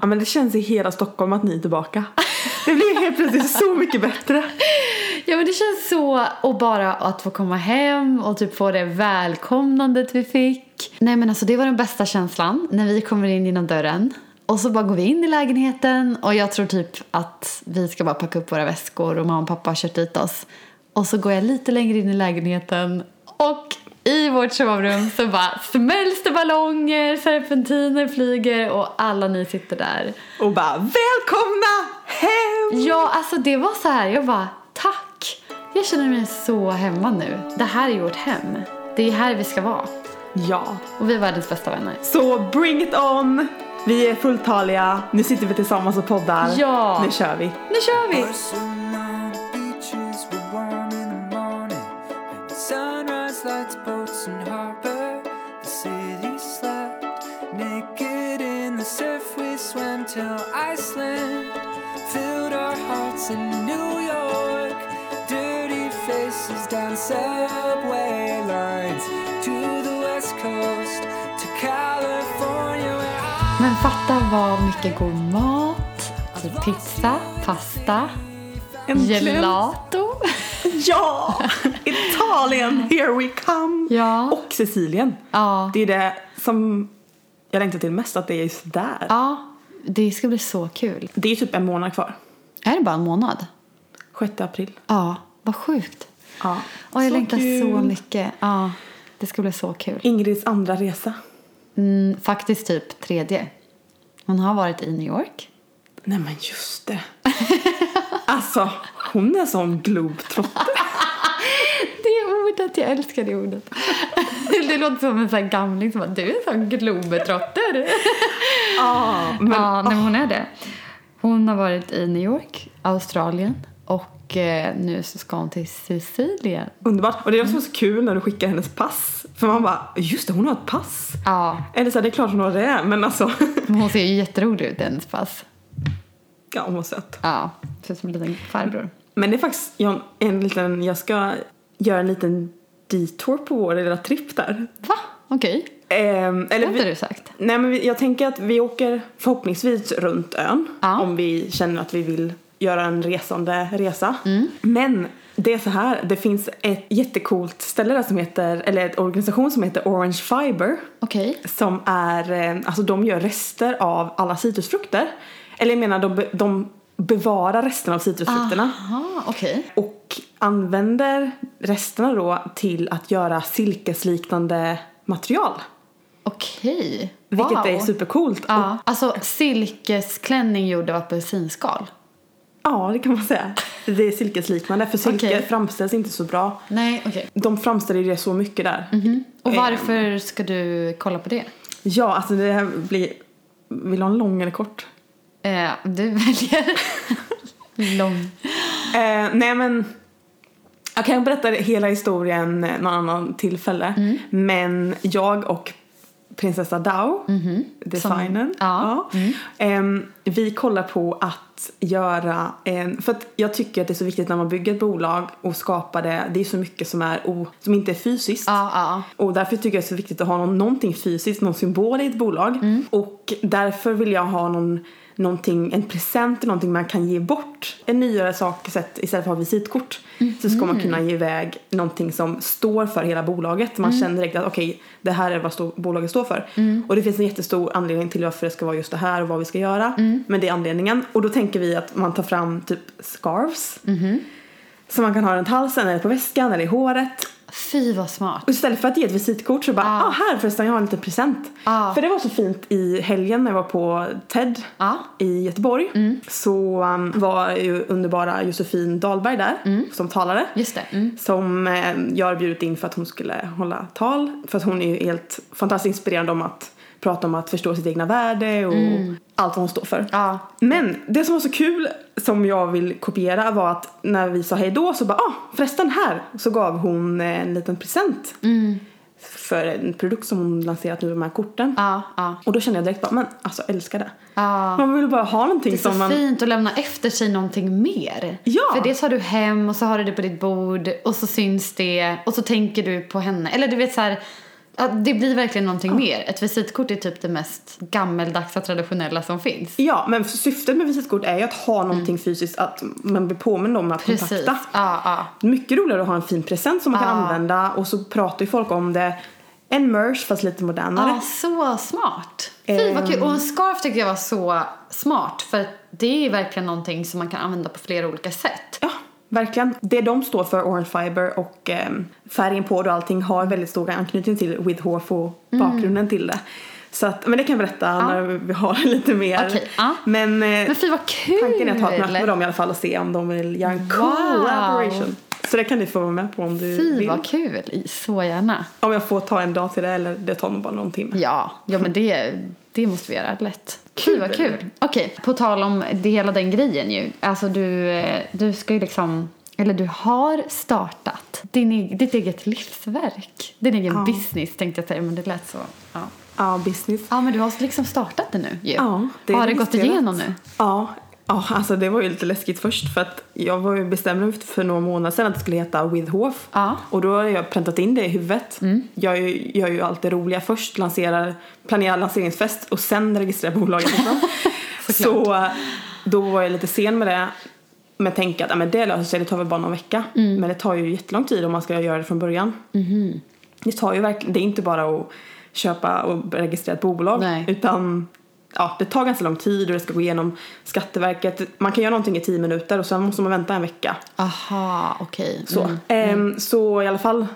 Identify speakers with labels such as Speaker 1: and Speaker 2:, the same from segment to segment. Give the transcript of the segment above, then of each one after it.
Speaker 1: Ja men det känns i hela Stockholm att ni är tillbaka. Det blev helt plötsligt så mycket bättre.
Speaker 2: Ja men det känns så, och bara att få komma hem och typ få det välkomnandet vi fick. Nej men alltså det var den bästa känslan när vi kommer in genom dörren. Och så bara går vi in i lägenheten och jag tror typ att vi ska bara packa upp våra väskor och mamma och pappa har kört dit oss. Och så går jag lite längre in i lägenheten och i vårt sovrum så bara smälls det ballonger, serpentiner flyger och alla ni sitter där.
Speaker 1: Och bara välkomna hem!
Speaker 2: Ja, alltså det var så här. Jag bara, tack! Jag känner mig så hemma nu. Det här är vårt hem. Det är här vi ska vara.
Speaker 1: Ja,
Speaker 2: Och vi är världens bästa vänner.
Speaker 1: så bring it on! Vi är fulltaliga, nu sitter vi tillsammans och poddar.
Speaker 2: Ja.
Speaker 1: Nu kör vi.
Speaker 2: Nu kör vi!
Speaker 3: Barcelona beaches were warm in the morning, and the sunrise lights boats and harbor. The city slept naked in the surf. We swam till Iceland, filled our hearts in New York. Dirty faces down subway lines to the west coast to California. Where I
Speaker 2: Men fatta vad mycket god mat. Typ pizza, pasta,
Speaker 1: Äntligen.
Speaker 2: gelato.
Speaker 1: Ja! Italien, here we come!
Speaker 2: Ja.
Speaker 1: Och Sicilien.
Speaker 2: Ja.
Speaker 1: Det är det som jag längtar till mest, att det är just där.
Speaker 2: Ja, det ska bli så kul.
Speaker 1: Det är typ en månad kvar.
Speaker 2: Är det bara en månad?
Speaker 1: 6 april.
Speaker 2: Ja, vad sjukt.
Speaker 1: Ja.
Speaker 2: Åh, jag
Speaker 1: Så
Speaker 2: längtar
Speaker 1: kul.
Speaker 2: så mycket. Ja, det ska bli så kul.
Speaker 1: Ingrids andra resa.
Speaker 2: Mm, faktiskt typ tredje. Hon har varit i New York.
Speaker 1: Nej men just det. alltså, hon är sån globetrotter.
Speaker 2: Det ordet, jag älskar det ordet. Det låter som en sån här gamling som bara, du är en sån globetrotter.
Speaker 1: Ja, men
Speaker 2: ja, nej, men hon är det. Hon har varit i New York, Australien och eh, nu så ska hon till Sicilien.
Speaker 1: underbart. Och det är också så kul när du skickar hennes pass. För man bara, just det, hon har ett pass.
Speaker 2: Ja,
Speaker 1: Eller så här, det är klart hon har det, men alltså.
Speaker 2: men hon ser ju jätterolig ut i hennes pass.
Speaker 1: ja, hon var söt.
Speaker 2: Ja, ser ut som en liten farbror.
Speaker 1: Men det är faktiskt jag, en liten, jag ska göra en liten detour på vår lilla tripp där.
Speaker 2: Va? Okej,
Speaker 1: Ehm,
Speaker 2: det
Speaker 1: eller
Speaker 2: har
Speaker 1: vi,
Speaker 2: inte du sagt.
Speaker 1: nej men vi, jag tänker att vi åker förhoppningsvis runt ön.
Speaker 2: Ja.
Speaker 1: Om vi känner att vi vill göra en resande resa.
Speaker 2: Mm.
Speaker 1: Men det är så här, det finns ett jättecoolt ställe där som heter, eller en organisation som heter Orange Fiber.
Speaker 2: Okej.
Speaker 1: Som är, eh, alltså de gör rester av alla citrusfrukter. Eller jag menar de, be- de bevarar resten av citrusfrukterna.
Speaker 2: Aha, okej.
Speaker 1: Och använder resterna då till att göra silkesliknande material.
Speaker 2: Okej.
Speaker 1: Vilket
Speaker 2: wow.
Speaker 1: är supercoolt. Och,
Speaker 2: Ja, alltså silkesklänning gjord av apelsinskal.
Speaker 1: ja, det kan man säga. Det är silkesliknande för silke
Speaker 2: Okej.
Speaker 1: framställs inte så bra.
Speaker 2: Nej, okej.
Speaker 1: De framställer ju det så mycket där.
Speaker 2: Och varför ska du kolla på det?
Speaker 1: Ja, alltså det här blir... Vill du ha en lång eller kort?
Speaker 2: Eh, du väljer lång.
Speaker 1: Eh, nej men jag kan berätta hela historien eh, någon annan tillfälle.
Speaker 2: Mm.
Speaker 1: Men jag och prinsessa Dao, designern,
Speaker 2: Mhm. ja. Mm.
Speaker 1: ja, ehm, vi kollar på att göra en, för att jag tycker att det är så viktigt när man bygger ett bolag och skapar det, det är så mycket som, är o, som inte är fysiskt.
Speaker 2: Ja, ja.
Speaker 1: Och därför tycker jag det är så viktigt att ha någon, någonting fysiskt, någon symbol i ett bolag. Och därför vill jag ha någon, någonting, en present, någonting man kan ge bort. En nyare sak sett, istället för att ha visitkort. Så ska man kunna ge iväg någonting som står för hela bolaget. Man känner direkt att okej, det här är vad stå, bolaget står för. Och det finns en jättestor anledning till varför det ska vara just det här och vad vi ska göra. Men det är anledningen. Och då tänker vi att man tar fram typ scarves. Som man kan ha runt halsen eller på väskan eller i håret.
Speaker 2: Fy vad smart.
Speaker 1: Och istället för att ge ett visitkort så bara, ah. här förresten jag har en liten present.
Speaker 2: Ah.
Speaker 1: För det var så fint i helgen när jag var på TED
Speaker 2: Ah.
Speaker 1: i Göteborg.
Speaker 2: Mm.
Speaker 1: Så um, var ju underbara Josefin Dahlberg där som talare.
Speaker 2: Mm. Just det. Mm.
Speaker 1: Som eh, jag har bjudit in för att hon skulle hålla tal. För att hon är ju helt fantastiskt inspirerande om att prata om att förstå sitt egna värde och
Speaker 2: Mm.
Speaker 1: allt vad hon står för.
Speaker 2: Ja.
Speaker 1: Men det som var så kul som jag vill kopiera var att när vi sa hej då så bara ah förresten här så gav hon eh, en liten present.
Speaker 2: Mm.
Speaker 1: För en produkt som hon lanserat nu de här korten.
Speaker 2: Ja, ja.
Speaker 1: Och då kände jag direkt bara men alltså jag älskar det.
Speaker 2: Ja.
Speaker 1: Man vill bara ha någonting
Speaker 2: Det är så
Speaker 1: som man
Speaker 2: fint att lämna efter sig någonting mer.
Speaker 1: Ja.
Speaker 2: För det tar du hem och så har du det på ditt bord och så syns det och så tänker du på henne. Eller du vet så här, Ja, det blir verkligen någonting mer. Ett visitkort är typ det mest gammeldags och traditionella som finns.
Speaker 1: Ja, men syftet med visitkort är ju att ha någonting fysiskt, att man blir påmind om att
Speaker 2: Mm. Precis. Ja,
Speaker 1: kontakta.
Speaker 2: ja.
Speaker 1: Mycket roligare att ha en fin present som man kan
Speaker 2: Ja.
Speaker 1: använda och så pratar ju folk om det. En merch fast lite modernare.
Speaker 2: Ja, så smart. Fy vad
Speaker 1: Ehm.
Speaker 2: kul. Och en scarf tycker jag var så smart för att det är ju verkligen någonting som man kan använda på flera olika sätt.
Speaker 1: Ja, verkligen. Det de står för, Orange Fiber och ehm, färgen på det och allting har väldigt stor anknytning till With Hof och
Speaker 2: Mm.
Speaker 1: bakgrunden till det. Så att, men det kan jag berätta när vi har lite mer.
Speaker 2: Okej, ja.
Speaker 1: Men, eh,
Speaker 2: Men fy vad kul!
Speaker 1: tanken är att ha ett möte med dem i alla fall och se om de vill göra en
Speaker 2: Wow.
Speaker 1: collaboration. Så det kan du få vara med på om du
Speaker 2: Fy
Speaker 1: vill.
Speaker 2: vad kul! Så gärna.
Speaker 1: Om jag får ta en dag till det eller det tar nog bara någon timme.
Speaker 2: Ja, ja men det, det måste vi göra lätt. Kul, vad kul. Okej, på tal om det, hela den grejen ju. Alltså du, eh, du ska ju liksom, eller du har startat din, e- ditt eget livsverk. Din egen business tänkte jag säga, men det lät så. Ja.
Speaker 1: Ja, business.
Speaker 2: ja, men du har liksom startat det nu ju.
Speaker 1: Ja, det är
Speaker 2: har det gått
Speaker 1: registrerat.
Speaker 2: igenom nu?
Speaker 1: Ja. Ja, alltså det var ju lite läskigt först för att jag var ju bestämde mig för några månader sedan att det skulle heta With Hof.
Speaker 2: Ja. Mm.
Speaker 1: Och då har jag präntat in det i huvudet. Jag är ju- gör ju allt det roliga först, lanserar, planerar lanseringsfest och sen registrerar bolaget. liksom. Så eh, då var jag lite sen med det. Men tänkte att ja, men det löser sig, det tar väl bara någon vecka.
Speaker 2: Mm.
Speaker 1: Men det tar ju jättelång tid om man ska göra det från början. Det tar ju verkligen, det är inte bara att köpa och registrera ett bolag.
Speaker 2: Nej.
Speaker 1: Utan ja, det tar ganska lång tid och det ska gå igenom Skatteverket. Man kan göra någonting i tio minuter och sen måste man vänta en vecka.
Speaker 2: Aha, okej.
Speaker 1: Så, Ehm, så i alla fall,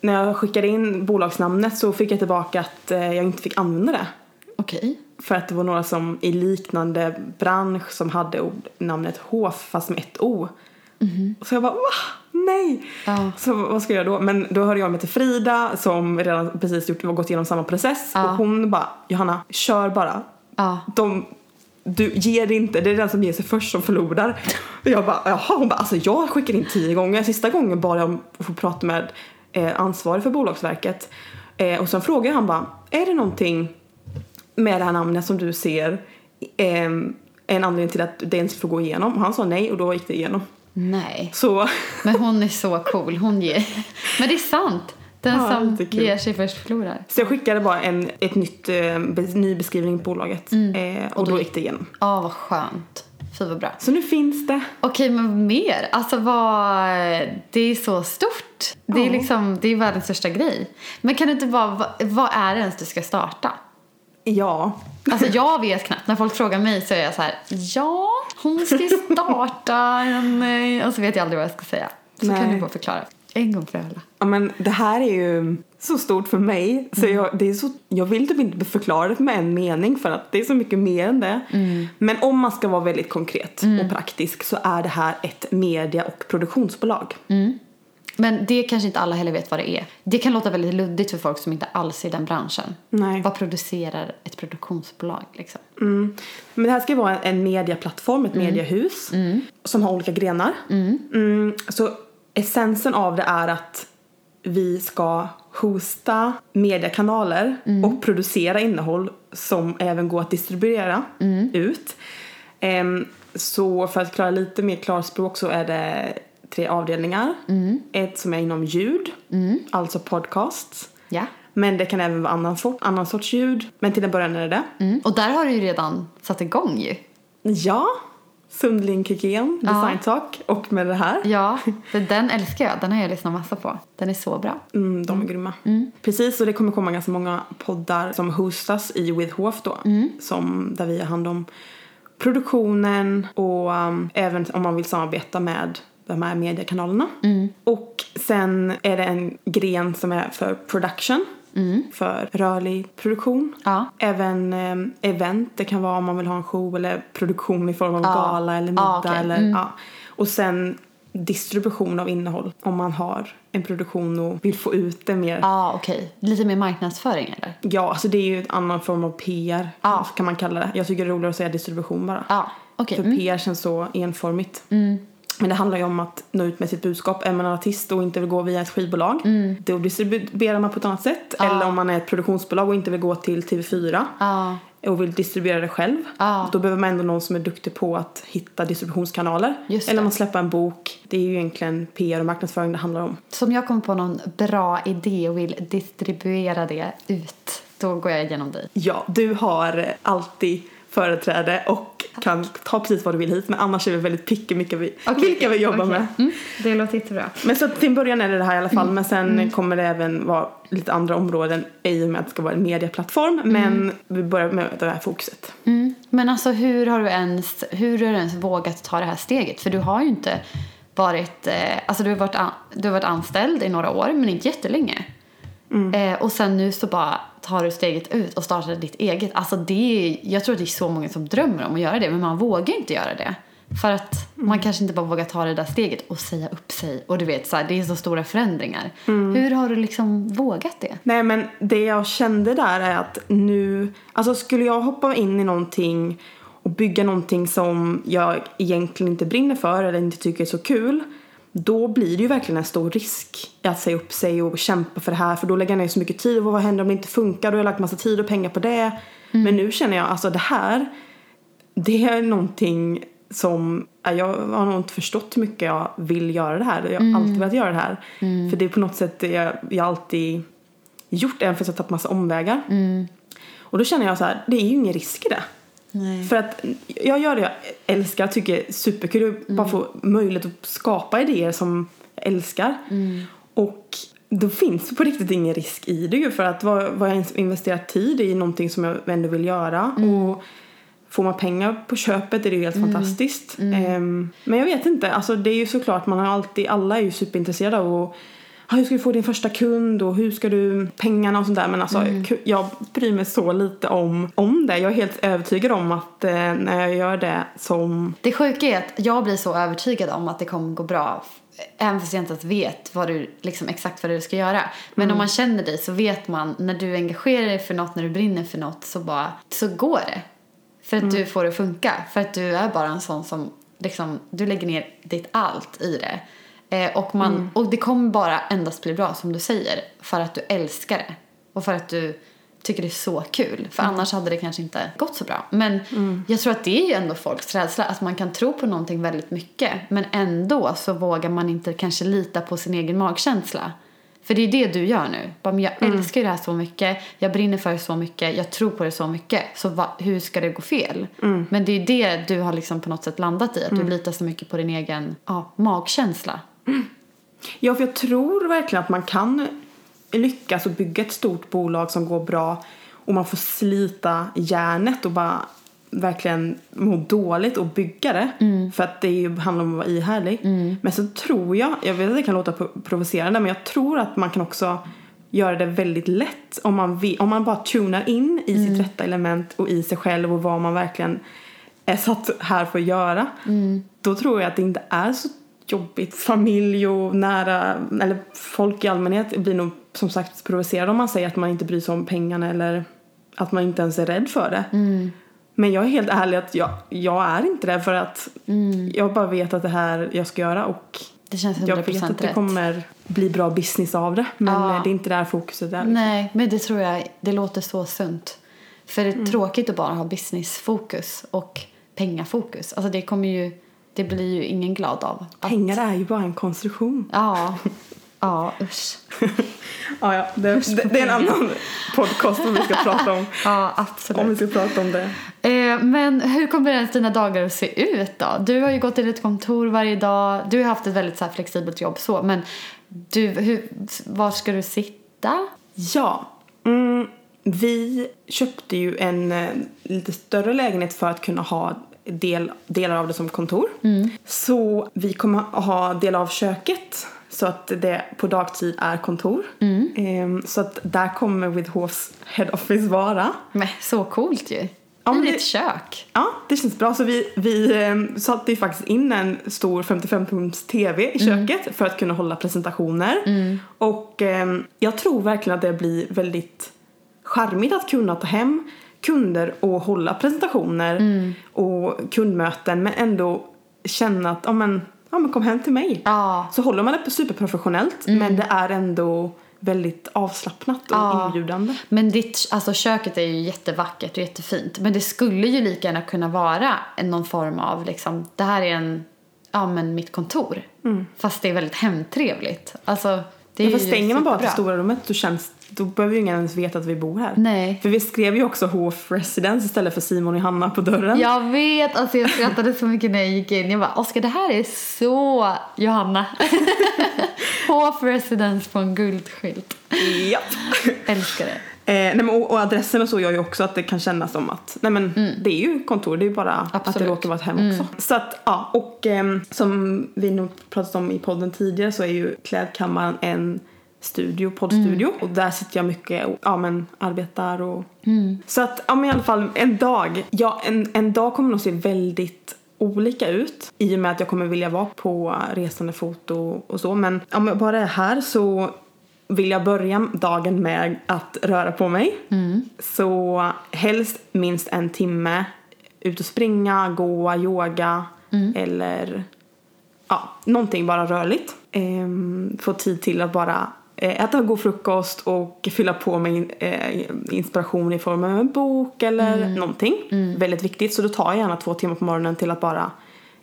Speaker 1: när jag skickade in bolagsnamnet så fick jag tillbaka att eh, jag inte fick använda det.
Speaker 2: Okej.
Speaker 1: För att det var några som i liknande bransch som hade ord, namnet Hof fast med ett O. Så jag bara va? Nej!
Speaker 2: Ja.
Speaker 1: Så vad ska jag göra då? Men då hörde jag mig till Frida som redan precis gjort, gått igenom samma process. Och hon bara Johanna, kör bara.
Speaker 2: Ja.
Speaker 1: De, du ger det inte, det är den som ger sig först som förlorar. Och jag bara jaha, hon bara alltså jag skickar in tio gånger. Sista gången bad jag om att få prata med eh, ansvarig för Bolagsverket. Eh, och sen frågade jag han bara, är det någonting med det här namnet som du ser eh, en anledning till att det ens får gå igenom? Och han sa nej och då gick det igenom.
Speaker 2: Nej.
Speaker 1: Så
Speaker 2: Men hon är så cool. Hon ger... Men det är sant. Den
Speaker 1: Ja,
Speaker 2: som
Speaker 1: jättekul.
Speaker 2: ger sig först förlorar.
Speaker 1: Så jag skickade bara en ett nytt, eh, be, ny beskrivning på bolaget eh, och, då gick det igenom.
Speaker 2: Ja, vad skönt. Fy vad bra.
Speaker 1: Så nu finns det.
Speaker 2: Okej, men mer? Alltså vad... Det är så stort. Det är liksom, det är världens största grej. Men kan du inte bara, vad, vad är det ens du ska starta?
Speaker 1: Ja.
Speaker 2: Alltså jag vet knappt. När folk frågar mig så är jag så här, ja, hon ska ju starta en... eh," Och så vet jag aldrig vad jag ska säga. Så kan
Speaker 1: Nej.
Speaker 2: du bara förklara. En gång för alla.
Speaker 1: ja, men det här är ju så stort för mig. Så jag, det är så, jag vill typ inte förklara det med en mening för att det är så mycket mer än det. Men om man ska vara väldigt konkret och praktisk så är det här ett media och produktionsbolag.
Speaker 2: Men det kanske inte alla heller vet vad det är. Det kan låta väldigt luddigt för folk som inte alls är i den branschen.
Speaker 1: Nej.
Speaker 2: Vad producerar ett produktionsbolag liksom?
Speaker 1: Mm. Men det här ska ju vara en, en mediaplattform, ett mediehus som har olika grenar. Mm, så essensen av det är att vi ska hosta mediekanaler och producera innehåll som även går att distribuera ut. Ehm, så för att klara lite mer klarspråk så är det tre avdelningar. Ett som är inom ljud, alltså podcasts.
Speaker 2: Ja.
Speaker 1: Men det kan även vara annan, for- annan sorts ljud. Men till en början är det det.
Speaker 2: Mm. Och där har du ju redan satt igång ju.
Speaker 1: Ja, Sundling Kikén, Design Talk och med det här.
Speaker 2: Ja, för den älskar jag. Den har jag lyssnat massa på. Den är så bra.
Speaker 1: Mm, de är grymma. Precis, och det kommer komma ganska många poddar som hostas i With Hof då.
Speaker 2: Mm.
Speaker 1: Som, där vi har hand om produktionen och um, även om man vill samarbeta med de här mediekanalerna.
Speaker 2: Mm.
Speaker 1: Och sen är det en gren som är för production. För rörlig produktion.
Speaker 2: Mm. Ja.
Speaker 1: Även em, event, det kan vara om man vill ha en show eller produktion i form av
Speaker 2: Ja.
Speaker 1: gala eller middag.
Speaker 2: Ja, okej.
Speaker 1: eller, ja. Och sen distribution av innehåll om man har en produktion och vill få ut det mer.
Speaker 2: Ja, okej. Lite mer marknadsföring eller?
Speaker 1: Ja, alltså det är ju en annan form av PR kan man kalla det. Jag tycker det är roligare att säga distribution bara.
Speaker 2: Ja, okej.
Speaker 1: För
Speaker 2: Mm.
Speaker 1: PR känns så enformigt. Men det handlar ju om att nå ut med sitt budskap. Är man en artist och inte vill gå via ett skivbolag
Speaker 2: Mm.
Speaker 1: då distribuerar man på ett annat sätt. Eller om man är ett produktionsbolag och inte vill gå till TV4
Speaker 2: Ja.
Speaker 1: och vill distribuera det själv.
Speaker 2: Ja.
Speaker 1: Då behöver man ändå någon som är duktig på att hitta distributionskanaler.
Speaker 2: Just
Speaker 1: Eller
Speaker 2: det.
Speaker 1: om man släpper en bok. Det är ju egentligen PR och marknadsföring det handlar om.
Speaker 2: Som jag kommer på någon bra idé och vill distribuera det ut, då går jag igenom dig.
Speaker 1: Ja, du har eh, alltid företräde och kan ta precis vad du vill hit. Men annars är vi väldigt picky vilka vi, vilka vi jobbar
Speaker 2: okej.
Speaker 1: med.
Speaker 2: Mm, det låter jättebra. Mm.
Speaker 1: Men så till en början är det det här i alla fall. Men sen kommer det även vara lite andra områden i och med att det ska vara en mediaplattform. Men vi börjar med det här fokuset.
Speaker 2: Mm. Men alltså hur har, du ens, hur har du ens vågat ta det här steget? För du har ju inte varit, eh, alltså du har varit, an, du har varit anställd i några år men inte jättelänge. Eh, och sen nu så bara tar du steget ut och startar ditt eget. Alltså det är, jag tror att det är så många som drömmer om att göra det men man vågar inte göra det. För att man kanske inte bara vågar ta det där steget och säga upp sig. Och du vet så här, det är så stora förändringar. Hur har du liksom vågat det?
Speaker 1: Nej men det jag kände där är att nu, alltså skulle jag hoppa in i någonting och bygga någonting som jag egentligen inte brinner för eller inte tycker är så kul då blir det ju verkligen en stor risk att säga upp sig och kämpa för det här för då lägger jag ner så mycket tid och vad händer om det inte funkar? Då har jag lagt massa tid och pengar på det. Men nu känner jag alltså det här det är någonting som ja, jag har nog inte förstått hur mycket jag vill göra det här. Jag har alltid velat göra det här. För det är på något sätt det jag, jag alltid gjort även fast jag har tagit massa omvägar. Och då känner jag så här, det är ju ingen risk i det.
Speaker 2: Nej.
Speaker 1: För att jag gör det jag älskar, tycker är superkul. att Bara få möjlighet att skapa idéer som jag älskar. Och då finns det på riktigt ingen risk i det ju. För att vad, vad jag ens investerar tid i är någonting som jag ändå vill göra. Och får man pengar på köpet är det ju helt fantastiskt. Ehm, men jag vet inte, alltså det är ju såklart, man har alltid, alla är ju superintresserade av att "Ah, hur ska du få din första kund och hur ska du pengarna och sånt där men alltså ku- jag bryr mig så lite om, om det. Jag är helt övertygad om att eh, när jag gör det som
Speaker 2: Det sjuka är att jag blir så övertygad om att det kommer gå bra även fast jag inte ens vet vad du, liksom, exakt vad du ska göra. Men om man känner dig så vet man när du engagerar dig för något, när du brinner för något så bara, så går det. För att du får det att funka. För att du är bara en sån som, liksom, du lägger ner ditt allt i det. Eh, och, man, och det kommer bara endast bli bra som du säger. För att du älskar det. Och för att du tycker det är så kul. För annars hade det kanske inte gått så bra. Men jag tror att det är ju ändå folks rädsla. Att man kan tro på någonting väldigt mycket. Men ändå så vågar man inte kanske lita på sin egen magkänsla. För det är det du gör nu. Bara, men jag
Speaker 1: Mm.
Speaker 2: älskar ju det här så mycket. Jag brinner för det så mycket. Jag tror på det så mycket. Så va, hur ska det gå fel?
Speaker 1: Mm.
Speaker 2: Men det är ju det du har liksom på något sätt landat i. Att du litar så mycket på din egen ja, magkänsla.
Speaker 1: Ja, för jag tror verkligen att man kan lyckas och bygga ett stort bolag som går bra och man får slita järnet och bara verkligen må dåligt och bygga det. För att det är ju- handlar om att vara ihärdig. Men så tror jag, jag vet att det kan låta pro- provocerande, men jag tror att man kan också göra det väldigt lätt om man, vi- om man bara tunar in i sitt rätta element och i sig själv och vad man verkligen är satt här för att göra.
Speaker 2: Mm.
Speaker 1: Då tror jag att det inte är så jobbigt. Familj och nära, eller folk i allmänhet blir nog som sagt provocerade om man säger att man inte bryr sig om pengarna eller att man inte ens är rädd för det.
Speaker 2: Mm.
Speaker 1: Men jag är helt ärlig att jag, jag är inte det för att jag bara vet att det här jag ska göra och
Speaker 2: Mm. Det känns 100%
Speaker 1: jag vet att det
Speaker 2: rätt.
Speaker 1: kommer bli bra business av det. Men
Speaker 2: Ja.
Speaker 1: eh, det är inte där fokuset är.
Speaker 2: Nej, men det tror jag. Det låter så sunt. För
Speaker 1: Mm.
Speaker 2: det är tråkigt att bara ha businessfokus och pengafokus. Alltså det kommer ju, det blir ju ingen glad av. Att,
Speaker 1: Pengar är ju bara en konstruktion.
Speaker 2: ja, ja usch.
Speaker 1: Ja, ja. Det, det, det är en annan podcast om vi ska prata om.
Speaker 2: Ja,
Speaker 1: Om vi
Speaker 2: absolut.
Speaker 1: ska prata om det.
Speaker 2: Eh, men hur kommer ens dina dagar att se ut då? Du har ju gått till ett kontor varje dag. Du har haft ett väldigt så här flexibelt jobb så. Men du, hur, var ska du sitta?
Speaker 1: Ja. Mm, vi köpte ju en eh, lite större lägenhet för att kunna ha del, delar av det som kontor. Så vi kommer att ha del av köket så att det på dagtid är kontor. Ehm, så att där kommer Widhofs head office vara.
Speaker 2: Men, så coolt ju.
Speaker 1: Ja, men
Speaker 2: I
Speaker 1: det-
Speaker 2: ditt kök.
Speaker 1: Ja, det känns bra. Så vi, vi eh, satte ju faktiskt in en stor 55-tums TV i
Speaker 2: Mm.
Speaker 1: köket för att kunna hålla presentationer. Och ehm, jag tror verkligen att det blir väldigt charmigt att kunna ta hem kunder och hålla presentationer
Speaker 2: Mm.
Speaker 1: och kundmöten men ändå känna att ja men, ja, men kom hem till mig.
Speaker 2: Ja. Mm.
Speaker 1: Så håller man det superprofessionellt men det är ändå väldigt avslappnat och
Speaker 2: Ja.
Speaker 1: inbjudande.
Speaker 2: Men ditt, alltså köket är ju jättevackert och jättefint. Men det skulle ju lika gärna kunna vara en- någon form av liksom, det här är en, ja men mitt kontor.
Speaker 1: Mm.
Speaker 2: Fast det är väldigt hemtrevligt. Alltså, det är
Speaker 1: Men för
Speaker 2: ju
Speaker 1: stänger man bara det
Speaker 2: superbra.
Speaker 1: stora rummet då, känns, då behöver ju ingen ens veta att vi bor här.
Speaker 2: Nej.
Speaker 1: För vi skrev ju också HF Residence istället för Simon och Hanna på dörren.
Speaker 2: Jag vet, alltså jag skrattade så mycket när jag gick in. Jag bara, Oskar det här är så Johanna. HF Residence på en guldskylt.
Speaker 1: Japp.
Speaker 2: Älskar det.
Speaker 1: Eh, nej men, och, och adressen och så gör ju också att det kan kännas som att nej men, det är ju kontor, det är ju bara att det
Speaker 2: Mm. Absolut.
Speaker 1: råkar vara ett hem också. Så att, ja, och ehm, som vi nog pratat om i podden tidigare så är ju klädkammaren en studio, poddstudio. Och där sitter jag mycket och ja, men, arbetar och... Så att, ja men i alla fall en dag. Ja, en, en dag kommer nog se väldigt olika ut i och med att jag kommer vilja vara på resande foto och så men om jag bara är här så vill jag börja dagen med att röra på mig. Så helst minst en timme ut och springa, gå, yoga eller ja, någonting bara rörligt. Ehm, få tid till att bara eh, äta god frukost och fylla på med eh, inspiration i form av en bok eller någonting. Väldigt viktigt så då tar jag gärna två timmar på morgonen till att bara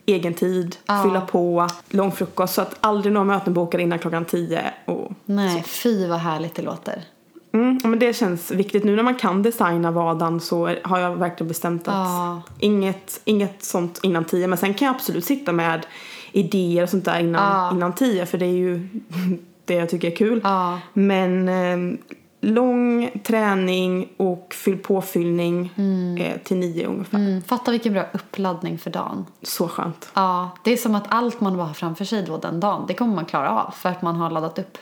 Speaker 1: egen tid, fylla på, lång frukost så att aldrig några möten bokade innan klockan tio och
Speaker 2: Nej, fy vad härligt det låter.
Speaker 1: Mm, ja, men det känns viktigt. Nu när man kan designa vardagen så är- har jag verkligen bestämt att
Speaker 2: Ja.
Speaker 1: inget, inget sånt innan tio. Men sen kan jag absolut sitta med idéer och sånt där innan, innan tio för det är ju det jag tycker är kul.
Speaker 2: Ja.
Speaker 1: Men eh, lång träning och fyll påfyllning eh, till nio ungefär.
Speaker 2: Mm, fatta vilken bra uppladdning för dagen.
Speaker 1: Så skönt.
Speaker 2: Ja, det är som att allt man bara har framför sig då den dagen, det kommer man klara av för att man har laddat upp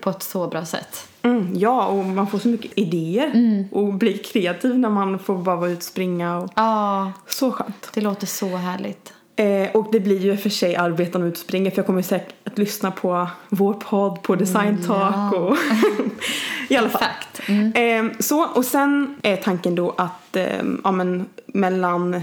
Speaker 2: på ett så bra sätt.
Speaker 1: Mm, ja, och man får så mycket idéer
Speaker 2: Mm.
Speaker 1: och blir kreativ när man får bara vara ute och springa. Och...
Speaker 2: Ja,
Speaker 1: Så skönt.
Speaker 2: det låter så härligt.
Speaker 1: Eh, och det blir ju i och för sig arbete om vi utspringer för jag kommer säkert att lyssna på vår podd på Design Talk och i alla fall.
Speaker 2: Exakt.
Speaker 1: Eh, så, och sen är tanken då att eh, ja, men, mellan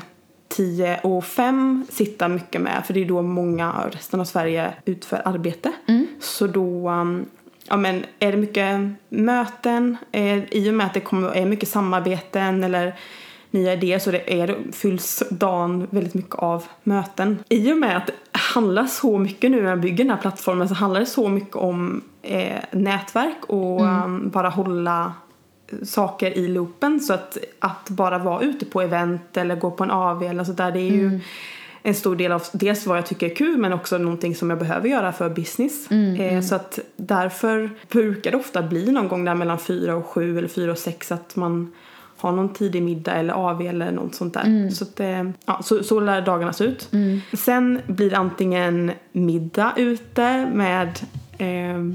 Speaker 1: 10 och 5 sitta mycket med för det är då många av resten av Sverige utför arbete. Så då um, ja, men, är det mycket möten eh, i och med att det kommer, är mycket samarbeten eller nya idéer så det är, fylls dagen väldigt mycket av möten. I och med att det handlar så mycket nu när jag bygger den här plattformen så handlar det så mycket om eh, nätverk och um, bara hålla saker i loopen så att, att bara vara ute på event eller gå på en AV eller så där det är ju en stor del av dels vad jag tycker är kul men också någonting som jag behöver göra för business. eh, Så att därför brukar det ofta bli någon gång där mellan fyra och sju eller fyra och sex att man har någon tidig middag eller AV eller något sånt där.
Speaker 2: Mm.
Speaker 1: Så, att, eh, ja, så, så lär dagarna se ut. Sen blir det antingen middag ute med eh,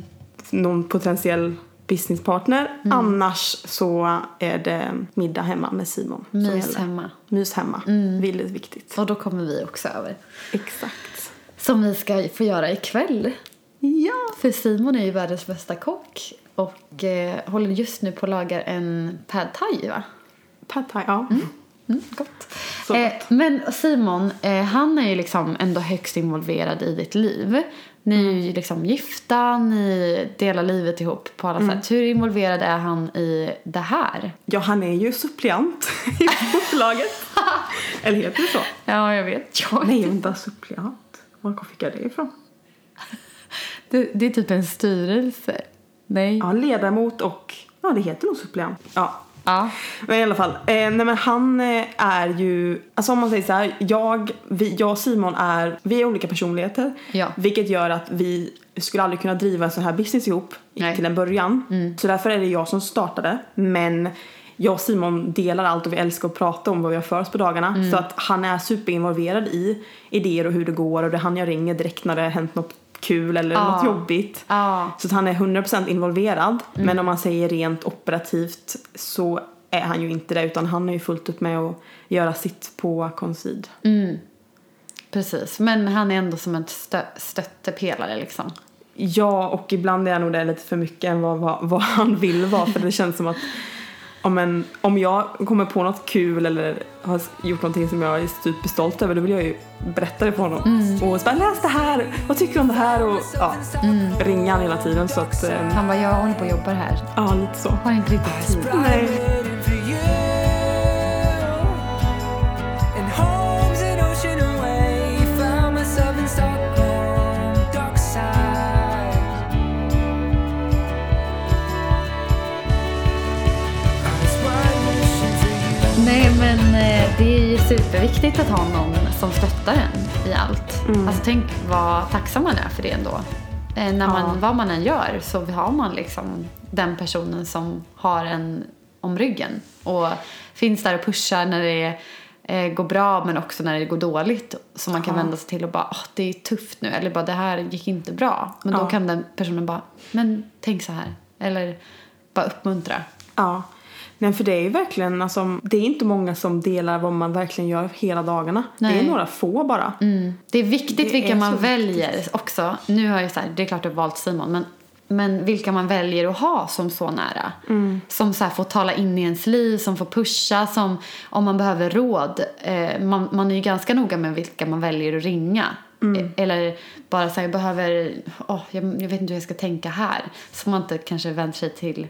Speaker 1: någon potentiell businesspartner.
Speaker 2: Mm.
Speaker 1: Annars så är det middag hemma med Simon. som
Speaker 2: Mys
Speaker 1: gäller.
Speaker 2: hemma. Mm.
Speaker 1: Mys hemma. Väldigt viktigt.
Speaker 2: Och då kommer vi också över.
Speaker 1: Exakt.
Speaker 2: Som vi ska få göra ikväll.
Speaker 1: Ja.
Speaker 2: För Simon är ju världens bästa kock och eh, håller just nu på att laga en pad thai va?
Speaker 1: Pad thai, ja.
Speaker 2: Mm, gott.
Speaker 1: Så
Speaker 2: Eh,
Speaker 1: gott.
Speaker 2: men Simon, eh, han är ju liksom ändå högst involverad i ditt liv. Ni är ju liksom gifta, ni delar livet ihop på alla sätt. Hur involverad är han i det här?
Speaker 1: Ja, han är ju suppleant i bolaget. Eller heter det så?
Speaker 2: Ja, jag vet. Jag
Speaker 1: Nej, vänta, suppleant. Var fick jag det ifrån?
Speaker 2: Det, det är typ en styrelse. Nej.
Speaker 1: Ja, ledamot och... Ja, det heter nog suppleant. Ja,
Speaker 2: Ja.
Speaker 1: Men i alla fall, eh, nej men han eh, är ju, alltså om man säger så här, jag, vi, jag och Simon är, vi är olika personligheter.
Speaker 2: Ja.
Speaker 1: Vilket gör att vi skulle aldrig kunna driva en sån här business ihop i-
Speaker 2: Nej. Mm.
Speaker 1: till en början. Så därför är det jag som startade. Men jag och Simon delar allt och vi älskar att prata om vad vi har för oss på dagarna.
Speaker 2: Mm.
Speaker 1: Så att han är superinvolverad i idéer och hur det går och det är han jag ringer direkt när det har hänt något kul eller något jobbigt.
Speaker 2: Ja.
Speaker 1: Så att han är 100% involverad. Men om man säger rent operativt så är han ju inte det utan han är ju fullt upp med att göra sitt på konsid.
Speaker 2: Mm. Precis, men han är ändå som en stö- stöttepelare liksom.
Speaker 1: Ja, och ibland är jag nog det lite för mycket än vad, vad, vad han vill vara för det känns som att om, en, om jag kommer på något kul eller har gjort någonting som jag är superstolt över då vill jag ju berätta det för honom. Och så bara läs det här, vad tycker du om det här? Och ja, ringa han hela tiden så att, eh,
Speaker 2: Han bara, jag håller på och jobbar här.
Speaker 1: ja lite så.
Speaker 2: Har inte riktigt tid.
Speaker 1: Nej.
Speaker 3: waiting for you. And home's an ocean away. Found myself in Stockholm, dark side. I was wide wishing for you.
Speaker 2: Nej, men eh, det är ju superviktigt att ha någon som stöttar en i allt. Alltså tänk vad tacksam man är för det ändå. Eh, när man,
Speaker 1: Ja.
Speaker 2: Vad man än gör så har man liksom den personen som har en om ryggen och finns där och pushar när det eh, går bra men också när det går dåligt. Så man kan vända sig till och bara "Ah, det är tufft nu eller bara det här gick inte bra. Men då
Speaker 1: Ja.
Speaker 2: kan den personen bara men tänk så här eller bara uppmuntra.
Speaker 1: Ja. Nej, för det är ju verkligen, alltså, det är inte många som delar vad man verkligen gör hela dagarna. Det
Speaker 2: Nej.
Speaker 1: är några få bara.
Speaker 2: Mm. Det är viktigt
Speaker 1: Det
Speaker 2: vilka
Speaker 1: är
Speaker 2: man
Speaker 1: så
Speaker 2: väljer också. Nu har jag så här, det är klart jag har valt Simon, men, men vilka man väljer att ha som så nära.
Speaker 1: Mm.
Speaker 2: Som så här får tala in i ens liv, som får pusha, som om man behöver råd. Eh, man, man är ju ganska noga med vilka man väljer att ringa.
Speaker 1: Mm.
Speaker 2: Eh, Eller bara så här, jag behöver, åh, jag, jag vet inte hur jag ska tänka här. Så man inte kanske vänder sig till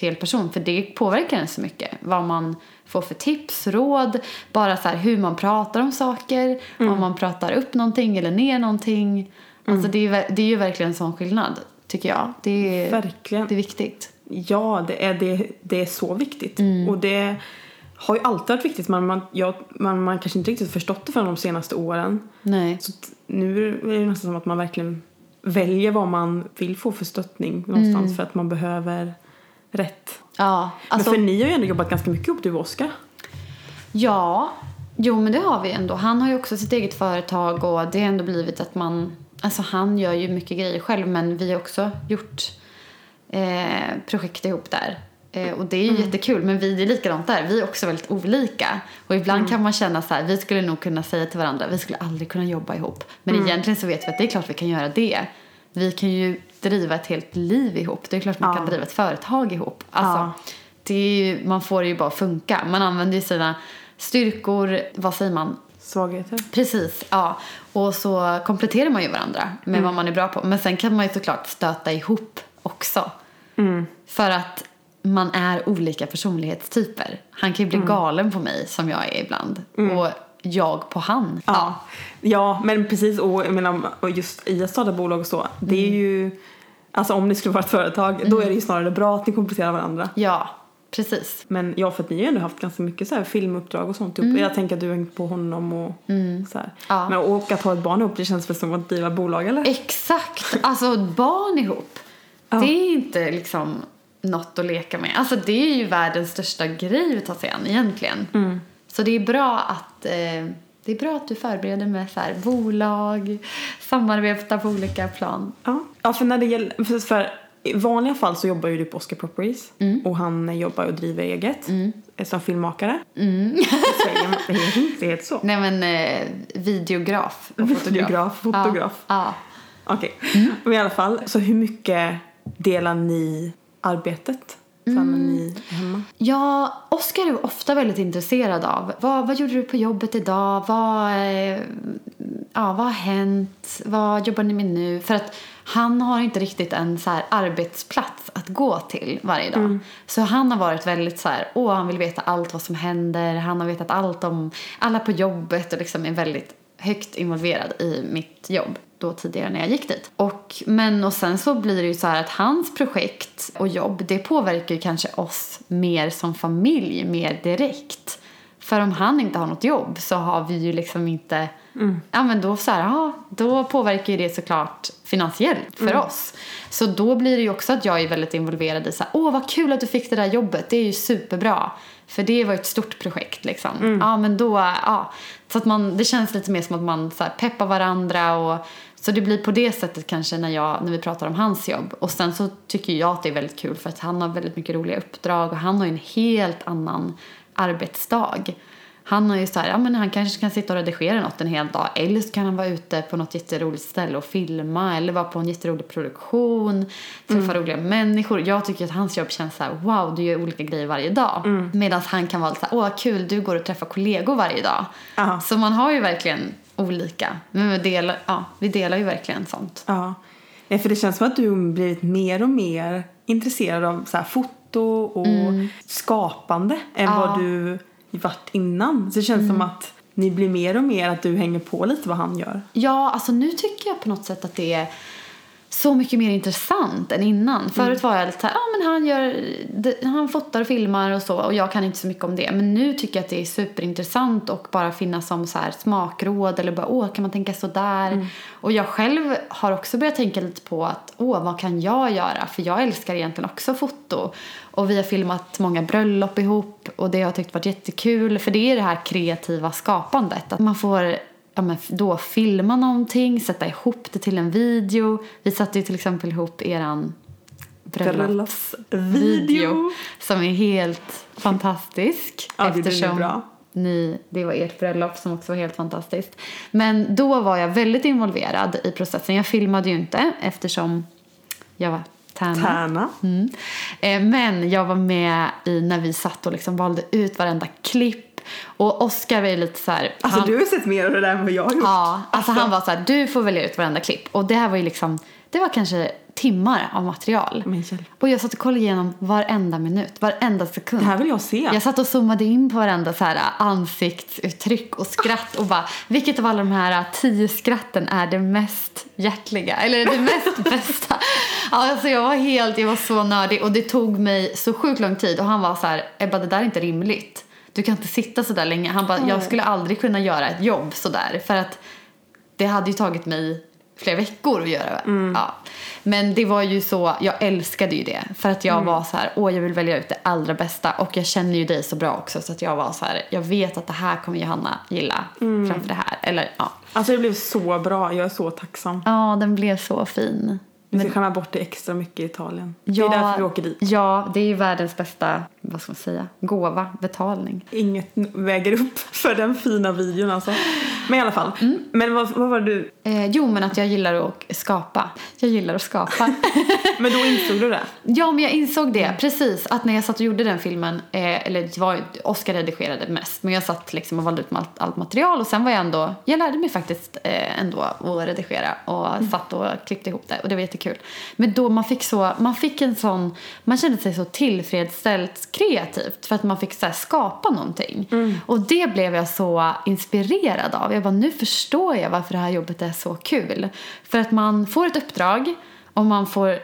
Speaker 2: fel person för det påverkar en så mycket. Vad man får för tips, råd, bara så här hur man pratar om saker,
Speaker 1: Mm.
Speaker 2: om man pratar upp någonting eller ner någonting. Alltså det är, ver- det är ju verkligen en sån skillnad tycker jag. Det är,
Speaker 1: Verkligen.
Speaker 2: Det är viktigt.
Speaker 1: Ja, det är, det, det är så viktigt.
Speaker 2: Mm.
Speaker 1: Och det har ju alltid varit viktigt. Man, man, jag, man, man kanske inte riktigt förstått det förrän de senaste åren.
Speaker 2: Nej.
Speaker 1: Så att nu är det ju nästan som att man verkligen väljer vad man vill få för stöttning någonstans för att man behöver rätt.
Speaker 2: Ja, Mm. alltså,
Speaker 1: Men för ni har ju ändå jobbat ganska mycket ihop, du och Oskar.
Speaker 2: ja, jo men det har vi ändå. Han har ju också sitt eget företag och det har ändå blivit att man, alltså han gör ju mycket grejer själv men vi har också gjort eh, projekt ihop där. Eh, och det är ju
Speaker 1: Mm.
Speaker 2: jättekul, men vi det är likadant där. Vi är också väldigt olika. Och ibland
Speaker 1: Mm.
Speaker 2: kan man känna så här, vi skulle nog kunna säga till varandra, vi skulle aldrig kunna jobba ihop. Men
Speaker 1: Mm.
Speaker 2: egentligen så vet vi att det är klart vi kan göra det. Vi kan ju driva ett helt liv ihop. Det är klart man
Speaker 1: Ja.
Speaker 2: kan driva ett företag ihop. Alltså,
Speaker 1: Ja.
Speaker 2: det är ju, man får det ju bara funka. Man använder ju sina styrkor, vad säger man,
Speaker 1: Svagheter.
Speaker 2: Precis, ja. Och så kompletterar man ju varandra med vad man är bra på. Men sen kan man ju såklart stöta ihop också. För att man är olika personlighetstyper. Han kan ju bli galen på mig som jag är ibland. Och jag på han.
Speaker 1: Ja. ja, men precis. Och, jag menar, och just i att starta bolag och så, det är ju... Alltså om ni skulle vara ett företag, då är det ju snarare bra att ni kompletterar varandra.
Speaker 2: Ja, precis.
Speaker 1: Men ja, för att ni har ju ändå haft ganska mycket så här filmuppdrag och sånt ihop. Jag tänker att du har hängt på honom och så här.
Speaker 2: Ja.
Speaker 1: Men och att ha ett barn ihop, det känns väl som att driva bolag eller?
Speaker 2: Exakt. Alltså barn ihop. Det är inte liksom något att leka med. Alltså det är ju världens största grej att ta sig an egentligen.
Speaker 1: Mm.
Speaker 2: Så det är bra att eh, det är bra att du förbereder med så här, bolag, samarbeta på olika plan.
Speaker 1: Ja. ja, för när det gäller... För, för i vanliga fall så jobbar ju du på Oscar Properties och han jobbar och driver eget eh, som filmmakare. Mm. Det, säger man, det heter inte- det heter så.
Speaker 2: Nej men eh, videograf och fotograf.
Speaker 1: Videograf, fotograf.
Speaker 2: Ja,
Speaker 1: Okej. Men i alla fall, så hur mycket delar ni arbetet sen när
Speaker 2: Mm.
Speaker 1: ni är hemma?
Speaker 2: ja. ja Oskar är ofta väldigt intresserad av vad, vad gjorde du på jobbet idag? Vad, eh, ja, vad har hänt? Vad jobbar ni med nu? För att han har inte riktigt en så här arbetsplats att gå till varje dag. Så han har varit väldigt så här, åh han vill veta allt vad som händer. Han har vetat allt om alla på jobbet och liksom är väldigt högt involverad i mitt jobb då tidigare när jag gick dit. Och, men och sen så blir det ju så här att hans projekt och jobb det påverkar ju kanske oss mer som familj mer direkt. För om han inte har något jobb så har vi ju liksom inte... Ja, men då, så här, ja, då påverkar ju det såklart finansiellt för oss. Så då blir det ju också att jag är väldigt involverad i så här, åh vad kul att du fick det där jobbet, det är ju superbra. För det var ju ett stort projekt liksom. Ja, men då, ja. Så att man, det känns lite mer som att man så här, peppar varandra och så det blir på det sättet kanske när, jag, när vi pratar om hans jobb. Och sen så tycker jag att det är väldigt kul för att han har väldigt mycket roliga uppdrag och han har ju en helt annan arbetsdag. Han har ju så här, ja men han kanske kan sitta och redigera något en hel dag. Eller så kan han vara ute på något jätteroligt ställe och filma. Eller vara på en jätterolig produktion. Träffa roliga människor. Jag tycker att hans jobb känns så här, wow du gör olika grejer varje dag. Medan han kan vara lite så här, åh kul du går och träffar kollegor varje dag.
Speaker 1: Ja.
Speaker 2: Så man har ju verkligen olika. Men vi delar, ja, vi delar ju verkligen sånt.
Speaker 1: Ja. Nej, för det känns som att du har blivit mer och mer intresserad av så här, foto och skapande än
Speaker 2: Mm. Ja. Mm.
Speaker 1: vad du varit innan. Så det känns som att ni blir mer och mer att du hänger på lite vad han gör.
Speaker 2: Ja, alltså nu tycker jag på något sätt att det är så mycket mer intressant än innan. Förut var jag lite såhär, ah, men han gör, det- han fotar och filmar och så och jag kan inte så mycket om det. Men nu tycker jag att det är superintressant och bara finnas som så här smakråd eller bara, åh, kan man tänka så där? Och jag själv har också börjat tänka lite på att, åh, vad kan jag göra? För jag älskar egentligen också foto. Och vi har filmat många bröllop ihop och det har jag tyckt varit jättekul. För det är det här kreativa skapandet, att man får ja, men då filma någonting, sätta ihop det till en video. Vi satte ju till exempel ihop eran bröllopsvideo
Speaker 1: Bröllopsvideo.
Speaker 2: som är helt fantastisk.
Speaker 1: Ja, det blir nog bra.
Speaker 2: Ni, det var ert bröllop som också var helt fantastiskt. Men då var jag väldigt involverad i processen. Jag filmade ju inte eftersom jag var tärna.
Speaker 1: Tärna.
Speaker 2: Mm. Eh, Men jag var med i när vi satt och liksom valde ut varenda klipp. Och Oscar var ju lite så här...
Speaker 1: Alltså
Speaker 2: han-
Speaker 1: du har sett mer av det där än vad jag har gjort.
Speaker 2: Ja, alltså han var så här, du får välja ut varenda klipp. Och det här var ju liksom, det var kanske timmar av material.
Speaker 1: Men hjälp.
Speaker 2: Och jag satt och kollade igenom varenda minut, varenda sekund.
Speaker 1: Det här vill jag se.
Speaker 2: Jag satt och zoomade in på varenda så här ansiktsuttryck och skratt och bara, vilket av alla de här tio skratten är det mest hjärtliga? Eller det mest bästa? Ja, Alltså jag var helt, jag var så nördig och det tog mig så sjukt lång tid och han var så här, Ebba det där är inte rimligt. Du kan inte sitta så där länge. Han bara, jag skulle aldrig kunna göra ett jobb så där för att det hade ju tagit mig flera veckor att göra.
Speaker 1: Mm.
Speaker 2: Ja. Men det var ju så, jag älskade ju det. För att jag
Speaker 1: Mm.
Speaker 2: var så här, åh jag vill välja ut det allra bästa. Och jag känner ju dig så bra också. Så att jag var så här, jag vet att det här kommer Johanna gilla
Speaker 1: Mm.
Speaker 2: framför det här. Eller ja.
Speaker 1: Alltså det blev så bra, jag är så tacksam.
Speaker 2: Ja, den blev så fin.
Speaker 1: Vi ska skämma bort det extra mycket i Italien. Det är därför vi åker dit.
Speaker 2: Ja, det är ju världens bästa, vad ska man säga, gåva, betalning.
Speaker 1: Inget väger upp för den fina videon alltså. Men i alla fall.
Speaker 2: Mm.
Speaker 1: Men vad, vad var du?
Speaker 2: Eh, jo, men att jag gillar att skapa. Jag gillar att skapa.
Speaker 1: Men då insåg du det?
Speaker 2: Ja, men jag insåg det. Precis. Att när jag satt och gjorde den filmen, eh, eller det var, Oscar redigerade mest, men jag satt liksom och valde ut allt, allt material och sen var jag ändå, jag lärde mig faktiskt eh, ändå att redigera och satt och klippte ihop det och det var jättekul. Men då man fick så, man fick en sån, man kände sig så tillfredsställt kreativt för att man fick så här skapa någonting. Och det blev jag så inspirerad av. Jag bara, nu förstår jag varför det här jobbet är så kul. För att man får ett uppdrag och man får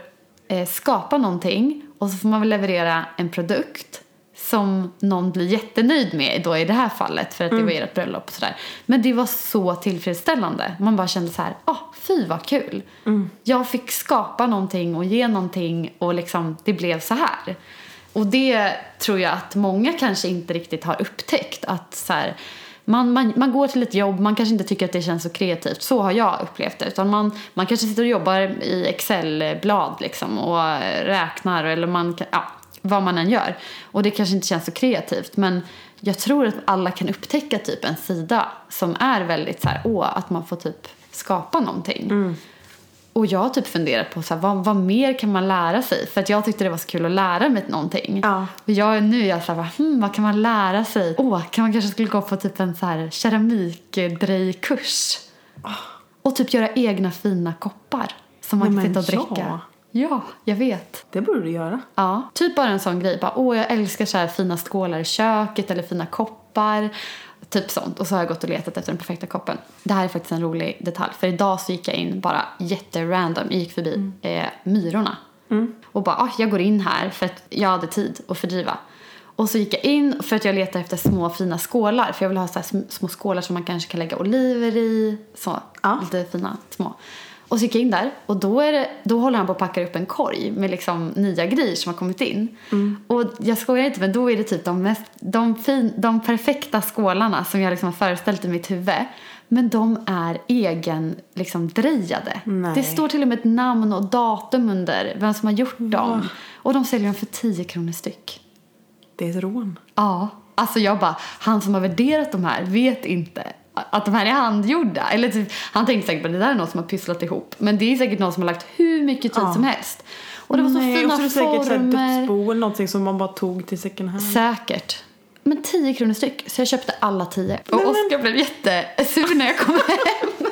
Speaker 2: eh, skapa någonting och så får man väl leverera en produkt som någon blir jättenöjd med då i det här fallet för att det var ert bröllop och sådär. Men det var så tillfredsställande. Man bara kände så här, ah, fy vad kul. Jag fick skapa någonting och ge någonting och liksom det blev så här. Och det tror jag att många kanske inte riktigt har upptäckt att så här, man, man, man går till ett jobb, man kanske inte tycker att det känns så kreativt. Så har jag upplevt det. Utan man, man kanske sitter och jobbar i Excel-blad liksom och räknar eller man, kan- ja, vad man än gör. Och det kanske inte känns så kreativt. Men jag tror att alla kan upptäcka typ en sida som är väldigt så här, åh, att man får typ skapa någonting. Och jag har typ funderat på så här, vad, vad mer kan man lära sig? För att jag tyckte det var så kul att lära mig någonting.
Speaker 1: Ja.
Speaker 2: Och jag, nu är jag så här, bara, hmm, vad kan man lära sig? Åh, kan man kanske skulle gå på typ en så här keramikdrejkurs?
Speaker 1: Ah.
Speaker 2: Och typ göra egna fina koppar som man
Speaker 1: Nej,
Speaker 2: kan
Speaker 1: men
Speaker 2: sitta och
Speaker 1: ja.
Speaker 2: dricka. Ja, jag vet.
Speaker 1: Det borde du göra.
Speaker 2: Ja, typ bara en sån grej. Bara, åh, jag älskar så här fina skålar i köket eller fina koppar. Typ sånt. Och så har jag gått och letat efter den perfekta koppen. Det här är faktiskt en rolig detalj. För idag så gick jag in bara jätterandom. Jag gick förbi eh, Myrorna. Och bara, ah, jag går in här för att jag hade tid att fördriva. Och så gick jag in för att jag letade efter små fina skålar. För jag vill ha så här sm- små skålar som man kanske kan lägga oliver i. Så,
Speaker 1: Ja.
Speaker 2: lite fina små. Och så gick jag in där och då, är det, då håller han på att packa upp en korg med liksom nya grejer som har kommit in. Och jag skojar inte men då är det typ de, mest, de, fin, de perfekta skålarna som jag liksom har föreställt i mitt huvud. Men de är egen liksom drejade.
Speaker 1: Nej.
Speaker 2: Det står till och med ett namn och datum under vem som har gjort dem. Och de säljer dem för 10 kronor styck.
Speaker 1: Det är ett rån.
Speaker 2: Ja, Alltså jag bara, han som har värderat de här vet inte att de här är handgjorda. Eller typ, han tänkte säkert att det där är någon som har pysslat ihop. Men det är säkert någon som har lagt hur mycket tid
Speaker 1: Ja.
Speaker 2: som helst. Och det var så
Speaker 1: Nej,
Speaker 2: fina
Speaker 1: och så är det säkert så här
Speaker 2: former.
Speaker 1: dödsbo eller någonting som man bara tog till second hand.
Speaker 2: Säkert. Men 10 kronor styck, så jag köpte alla 10. Och
Speaker 1: Nej, men-
Speaker 2: Oskar blev jättesur när jag kom hem.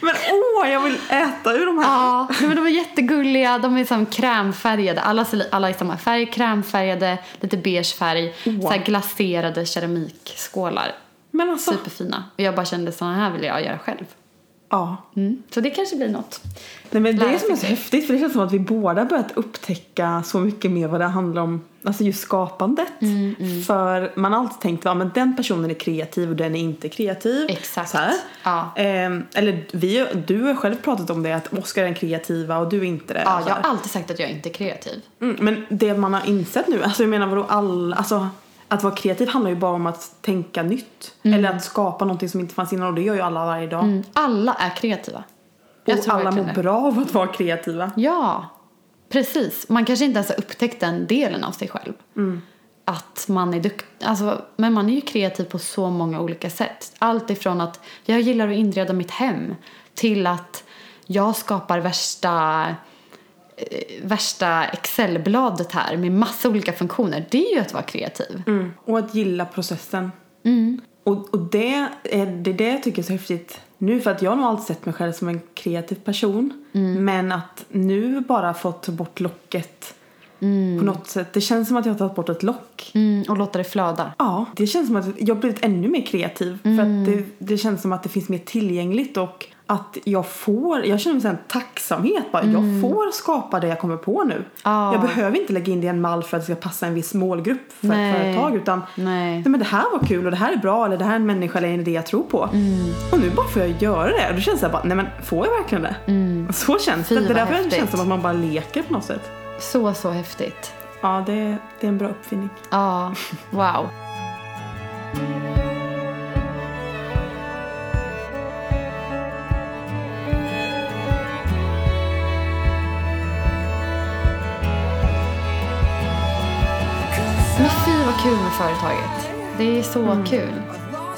Speaker 1: Men åh, jag vill äta ur de här.
Speaker 2: ja, nej, men de var jättegulliga, de är som krämfärgade. Alla, ser li- alla är samma färg, krämfärgade, lite beige färg.
Speaker 1: Wow.
Speaker 2: Så här glaserade keramikskålar.
Speaker 1: Men alltså,
Speaker 2: Superfina. Och jag bara kände såna här vill jag göra själv.
Speaker 1: ja.
Speaker 2: Mm. Så det kanske blir något.
Speaker 1: Nej, men det
Speaker 2: Lära
Speaker 1: är som är så
Speaker 2: sig.
Speaker 1: häftigt för det känns som att vi båda börjat upptäcka så mycket mer vad det handlar om. Alltså just skapandet.
Speaker 2: Mm,
Speaker 1: För man har alltid tänkt att men den personen är kreativ och den är inte kreativ.
Speaker 2: Exakt.
Speaker 1: Så här.
Speaker 2: Ja.
Speaker 1: Ehm, eller vi, du har själv pratat om det att Oskar är den kreativa och du är inte det.
Speaker 2: Ja,
Speaker 1: Så
Speaker 2: jag
Speaker 1: här.
Speaker 2: har alltid sagt att jag inte är kreativ.
Speaker 1: Mm, men det man har insett nu, alltså jag menar vadå all, alltså att vara kreativ handlar ju bara om att tänka nytt. Eller att skapa någonting som inte fanns innan och det gör ju alla varje dag.
Speaker 2: Mm. Alla är kreativa. Jag
Speaker 1: Och
Speaker 2: tror
Speaker 1: alla
Speaker 2: verkligen
Speaker 1: mår
Speaker 2: det.
Speaker 1: bra av att vara kreativa.
Speaker 2: Ja, precis. Man kanske inte ens har upptäckt den delen av sig själv. Att man är duktig. Alltså, men man är ju kreativ på så många olika sätt. Allt ifrån att jag gillar att inreda mitt hem till att jag skapar värsta eh, värsta Excel-bladet här med massa olika funktioner. Det är ju att vara kreativ.
Speaker 1: Mm. Och att gilla processen. Och, och det är det, är det jag tycker är så häftigt nu för att jag har nog alltid sett mig själv som en kreativ person. Men att nu bara fått ta bort locket på något sätt. Det känns som att jag har tagit bort ett lock.
Speaker 2: Mm, och låta det flöda.
Speaker 1: Ja, det känns som att jag har blivit ännu mer kreativ. För
Speaker 2: Mm.
Speaker 1: att det, det känns som att det finns mer tillgängligt och att jag får, jag känner mig så här en tacksamhet bara. Jag får skapa det jag kommer på nu.
Speaker 2: Mm. Ja.
Speaker 1: Jag behöver inte lägga in det i en mall för att det ska passa en viss målgrupp för
Speaker 2: Nej.
Speaker 1: ett företag utan
Speaker 2: Nej.
Speaker 1: men det här var kul och det här är bra eller det här är en människa eller en idé jag tror på.
Speaker 2: Mm.
Speaker 1: Och nu bara får jag göra det och då känns det bara, nej men får jag verkligen det? Så känns
Speaker 2: Mm. Fy,
Speaker 1: det. Det är
Speaker 2: vad
Speaker 1: därför det
Speaker 2: häftigt.
Speaker 1: känns som att man bara leker på något sätt.
Speaker 2: Så, så häftigt.
Speaker 1: Ja, det, det är en bra uppfinning.
Speaker 2: Ja, wow. Men fy vad kul med företaget. Det är så kul.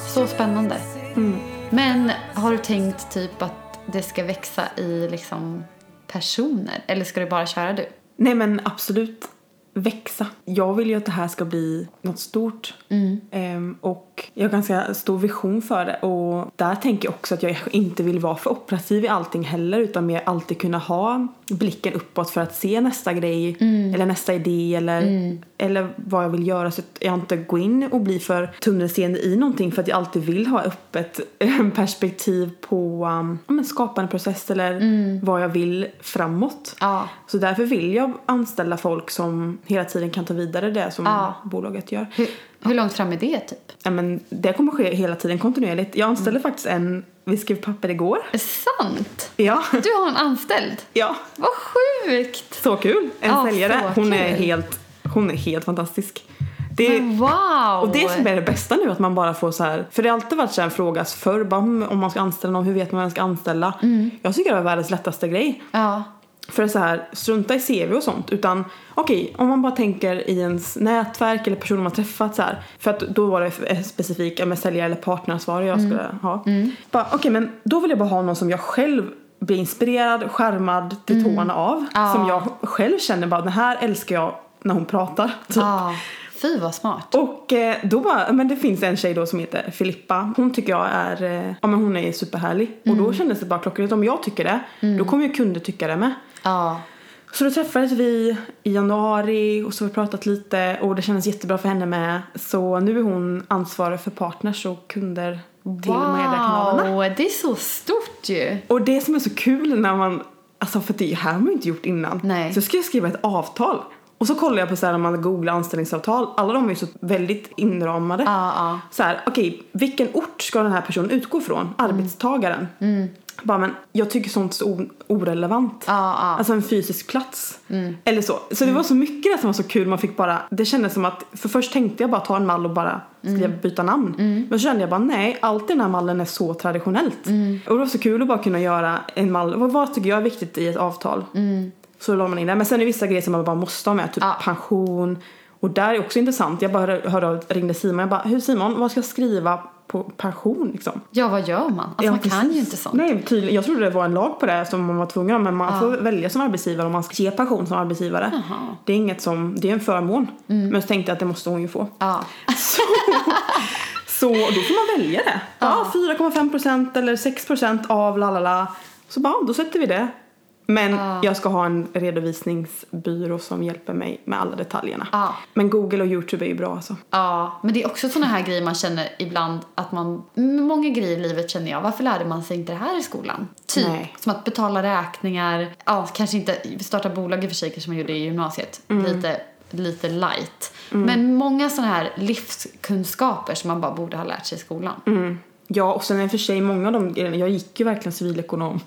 Speaker 2: Så spännande. Mm. Men har du tänkt typ att det ska växa i liksom personer? Eller ska du bara köra du?
Speaker 1: Nej men absolut växa. Jag vill ju att det här ska bli något stort. Ehm, och jag har ganska stor vision för det. Och där tänker jag också att jag inte vill vara för operativ i allting heller. Utan mer alltid kunna ha blicken uppåt för att se nästa grej. Eller nästa idé eller, eller vad jag vill göra. Så att jag inte går in och blir för tunnelseende i någonting. För att jag alltid vill ha öppet eh, perspektiv på um, ja, men skapandeprocess. Eller vad jag vill framåt.
Speaker 2: Ja.
Speaker 1: Så därför vill jag anställa folk som hela tiden kan ta vidare det som
Speaker 2: Ja.
Speaker 1: bolaget gör.
Speaker 2: Hur, hur långt fram är det typ?
Speaker 1: Ja, men det kommer ske hela tiden kontinuerligt. Jag
Speaker 2: Mm.
Speaker 1: anställde faktiskt en, vi skrev papper igår.
Speaker 2: Är det sant?
Speaker 1: Ja,
Speaker 2: Du har en anställd?
Speaker 1: ja.
Speaker 2: Vad sjukt!
Speaker 1: Så kul! En
Speaker 2: Ja,
Speaker 1: säljare.
Speaker 2: så
Speaker 1: Hon är,
Speaker 2: kul.
Speaker 1: helt, hon är helt fantastisk. Det
Speaker 2: Men wow!
Speaker 1: Och det som är det bästa nu att man bara får så här. För det har alltid varit så här en fråga förr bara, "Hmm, om man ska anställa någon, hur vet man vem man ska anställa?
Speaker 2: Mm.
Speaker 1: Jag tycker det var världens lättaste grej.
Speaker 2: Ja,
Speaker 1: För så här, strunta i CV och sånt. Utan okej, om man bara tänker i ens nätverk eller personer man träffat så här. För att då var det eh, specifikt ja, med säljare eller partneransvarig
Speaker 2: Mm.
Speaker 1: jag skulle ha. Bara okej, men då vill jag bara ha någon som jag själv blir inspirerad, skärmad till tårna av.
Speaker 2: Mm. Ja.
Speaker 1: Som jag själv känner bara den här älskar jag när hon pratar. Typ.
Speaker 2: ja. Fy vad smart.
Speaker 1: Och eh, då bara, men det finns en tjej då som heter Filippa. Hon tycker jag är, eh, ja men hon är superhärlig.
Speaker 2: Mm.
Speaker 1: Och då kändes det bara klockrent. Om jag tycker det, då kommer ju kunder tycka det med.
Speaker 2: Ja.
Speaker 1: Så då träffades vi i januari och så har vi pratat lite och det kändes jättebra för henne med. Så nu är hon ansvarig för partners och kunder till mediekanalerna.
Speaker 2: Wow! Det är så stort ju.
Speaker 1: Och det som är så kul när man, alltså för det här har man ju inte gjort innan.
Speaker 2: Nej.
Speaker 1: Så ska jag skriva ett avtal. Och så kollar jag på så här när man googlar anställningsavtal, alla de är ju så väldigt inramade.
Speaker 2: Ja, ja. Mm.
Speaker 1: Så här, okej, vilken ort ska den här personen utgå från? Arbetstagaren. Bara, men jag tycker sånt är så o- orelevant.
Speaker 2: Ja, ja. Mm.
Speaker 1: Alltså en fysisk plats. Eller så. Så det var så mycket där som var så kul. Man fick bara, det kändes som att, för först tänkte jag bara ta en mall och bara
Speaker 2: Mm.
Speaker 1: skulle jag byta namn. Men så kände jag bara nej, allt i den här mallen är så traditionellt.
Speaker 2: Mm.
Speaker 1: Och det var så kul att bara kunna göra en mall. Vad, vad tycker jag är viktigt i ett avtal? Så la man in det. Men sen är det vissa grejer som man bara måste ha med. Typ
Speaker 2: Mm. Ja.
Speaker 1: pension Och där är också intressant. Jag bara hörde, hörde av- ringde Simon. Jag bara, hur Simon, vad ska jag skriva på pension liksom?
Speaker 2: Ja, vad gör man? Alltså,
Speaker 1: Ja,
Speaker 2: man kan
Speaker 1: precis.
Speaker 2: ju inte sånt.
Speaker 1: Nej, tydligen. Jag trodde det var en lag på det som man var tvungen om, men man
Speaker 2: Ja.
Speaker 1: får välja som arbetsgivare om man ska ge pension som arbetsgivare.
Speaker 2: Jaha. Mm.
Speaker 1: Det är inget som, det är en förmån. Men så tänkte jag att det måste hon ju få.
Speaker 2: Ja.
Speaker 1: Så, så då får man välja det. Ja, 4,5 procent eller 6 procent av lalala. Så bara, då sätter vi det. Men
Speaker 2: Ja.
Speaker 1: jag ska ha en redovisningsbyrå som hjälper mig med alla detaljerna.
Speaker 2: Ja.
Speaker 1: Men Google och Youtube är ju bra alltså.
Speaker 2: ja, men det är också såna här grejer man känner ibland att man... Många grejer i livet känner jag, varför lärde man sig inte det här i skolan? Typ
Speaker 1: Nej.
Speaker 2: som att betala räkningar, ja, kanske inte starta bolag i och för sig kanske man gjorde i gymnasiet.
Speaker 1: Mm.
Speaker 2: Lite, lite light. Men många såna här livskunskaper som man bara borde ha lärt sig i skolan.
Speaker 1: Mm. Ja, och sen i och för sig många av de grejerna. Jag gick ju verkligen civilekonom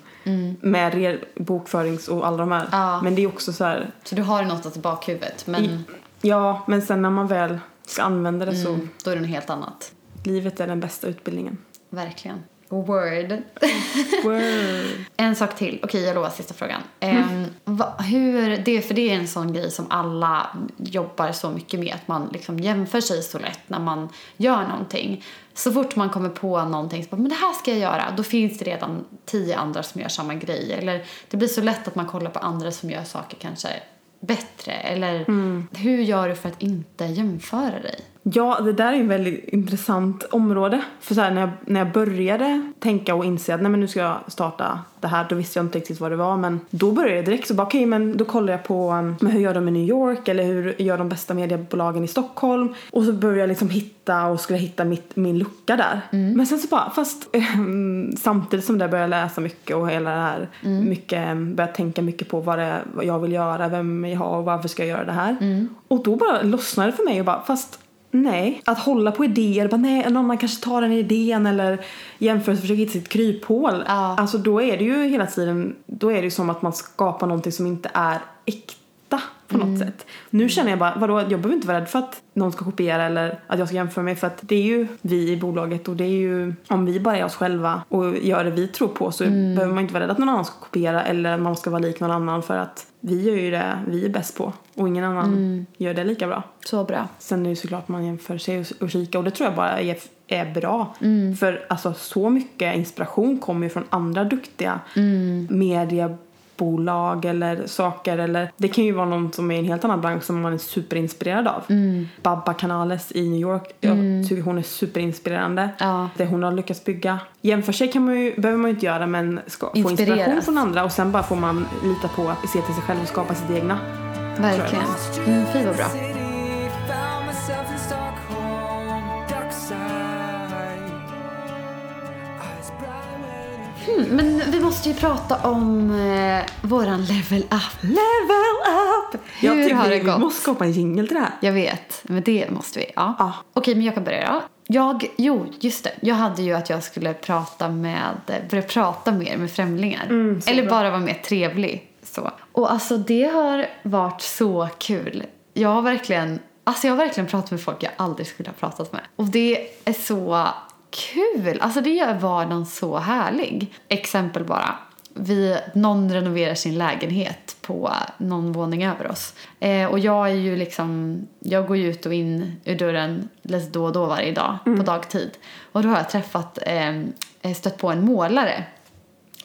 Speaker 1: med re- bokförings och alla de här.
Speaker 2: Mm. Ja. Mm.
Speaker 1: Men det är också så här.
Speaker 2: Så du har något i bakhuvudet, men
Speaker 1: I, ja, men sen när man väl ska använda det så
Speaker 2: mm, då är det något helt annat.
Speaker 1: livet är den bästa utbildningen.
Speaker 2: Verkligen. Word.
Speaker 1: Word.
Speaker 2: En sak till. Okej, jag lovar sista frågan. Ehm, va, hur, det, för det är en sån grej som alla jobbar så mycket med. Att man liksom jämför sig så lätt när man gör någonting. Så fort man kommer på någonting så bara, men det här ska jag göra. Då finns det redan tio andra som gör samma grej. Eller det blir så lätt att man kollar på andra som gör saker kanske bättre. Eller hur gör du för att inte jämföra dig?
Speaker 1: Ja, det där är ju ett väldigt intressant område. För så här, när, jag, när jag började tänka och inse att nej, men nu ska jag starta det här, då visste jag inte riktigt vad det var. Men då började jag direkt så bara okej, men då kollar jag på um, men hur gör de i New York eller hur gör de bästa mediebolagen i Stockholm? Och så började jag liksom hitta och skulle hitta mitt, min lucka där. Men sen så bara, fast ehm, samtidigt som det började jag läsa mycket och hela det här, mycket, ehm, började tänka mycket på vad, det, är- vad jag vill göra, vem jag har och varför ska jag göra det här? Och då bara lossnade det för mig och bara, fast Nej, att hålla på idéer, bara nej, någon annan kanske tar den idén eller jämför och försöker hitta sitt kryphål.
Speaker 2: Ja.
Speaker 1: Alltså då är det ju hela tiden, då är det ju som att man skapar någonting som inte är äkta på något sätt. Nu känner jag bara, vadå, jag behöver inte vara rädd för att någon ska kopiera eller att jag ska jämföra mig för att det är ju vi i bolaget och det är ju, om vi bara är oss själva och gör det vi tror på så behöver man inte vara rädd att någon annan ska kopiera eller att man ska vara lik någon annan för att vi gör ju det vi är bäst på och ingen annan gör det lika bra.
Speaker 2: Så bra.
Speaker 1: Sen är det ju såklart man jämför sig och, och kika och det tror jag bara är, är bra.
Speaker 2: Mm.
Speaker 1: För alltså så mycket inspiration kommer ju från andra duktiga
Speaker 2: Mm.
Speaker 1: mediebolag eller saker eller det kan ju vara någon som är i en helt annan bransch som man är superinspirerad av.
Speaker 2: Mm.
Speaker 1: Babba Canales i New York, jag tycker hon är superinspirerande.
Speaker 2: Ja.
Speaker 1: Det hon har lyckats bygga. Jämför sig kan man ju, behöver man ju inte göra men ska, få inspiration
Speaker 2: Inspireras.
Speaker 1: från andra och sen bara får man lita på att se till sig själv och skapa sitt egna.
Speaker 2: Verkligen. Mm, fy vad bra.
Speaker 3: City, found myself in Stockholm, dockside. Eyes bright when it
Speaker 2: Mm, men vi måste ju prata om eh, våran level up.
Speaker 1: Level up!
Speaker 2: Hur
Speaker 1: jag tycker
Speaker 2: har det
Speaker 1: vi
Speaker 2: gått?
Speaker 1: måste skapa en jingel till det här.
Speaker 2: Jag vet, men det måste vi. Ja.
Speaker 1: Ja.
Speaker 2: Okej, men jag kan börja då. Jag, jo, just det. Jag hade ju att jag skulle prata med, börja prata mer med främlingar.
Speaker 1: Mm, så
Speaker 2: Eller
Speaker 1: bra.
Speaker 2: bara vara mer trevlig. Så. Och alltså det har varit så kul. Jag har verkligen, alltså jag har verkligen pratat med folk jag aldrig skulle ha pratat med. Och det är så kul. Alltså det gör vardagen så härlig. Exempel bara vi, någon renoverar sin lägenhet på någon våning över oss. Eh, och jag är ju liksom, jag går ju ut och in ur dörren lite då och då varje dag på dagtid. Och då har jag träffat, eh, eh, stött på en målare.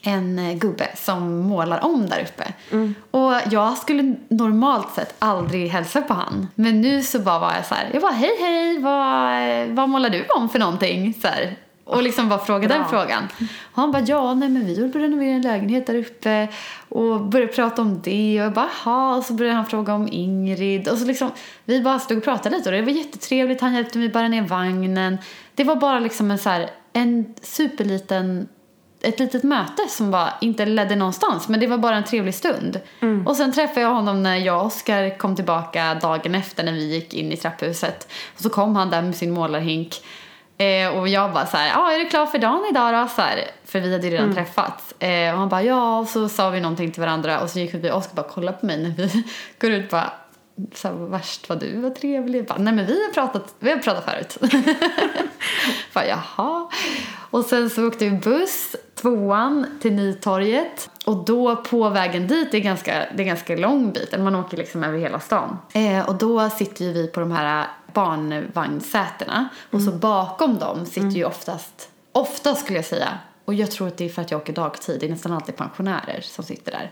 Speaker 2: En eh, gubbe som målar om där uppe. Och jag skulle normalt sett aldrig hälsa på han. Men nu så bara var jag så här, jag bara hej hej, vad, eh, vad målar du om för någonting? Så här. Och liksom bara fråga den
Speaker 1: Bra.
Speaker 2: frågan frågan. Och han bara, ja, nej men vi håller på att renovera en lägenhet där uppe. Och började prata om det och jag bara, ha. Och så började han fråga om Ingrid. Och så liksom, vi bara stod och pratade lite och det var jättetrevligt. Han hjälpte mig bära ner vagnen. Det var bara liksom en så här, en superliten ett litet möte som bara inte ledde någonstans men det var bara en trevlig stund. Och sen träffade jag honom när jag och Oskar kom tillbaka dagen efter när vi gick in i trapphuset. Och så kom han där med sin målarhink Eh, och jag bara så här, ah, är du klar för dagen idag då? Så här, för vi hade ju redan träffats. Eh, och han bara, ja. Och så sa vi någonting till varandra och så gick vi förbi och Oskar bara kolla på mig när vi går ut bara, så här, värst vad du var trevlig. Jag Bara, Nej men vi har pratat, vi har pratat förut. bara, jaha. Och sen så åkte vi buss, tvåan, till Nytorget. Och då på vägen dit, det är ganska, det är ganska lång bit, eller man åker liksom över hela stan. Eh, och då sitter ju vi på de här barnvagnsätena och så bakom dem sitter ju oftast, oftast skulle jag säga, och jag tror att det är för att jag åker dagtid, det är nästan alltid pensionärer som sitter där.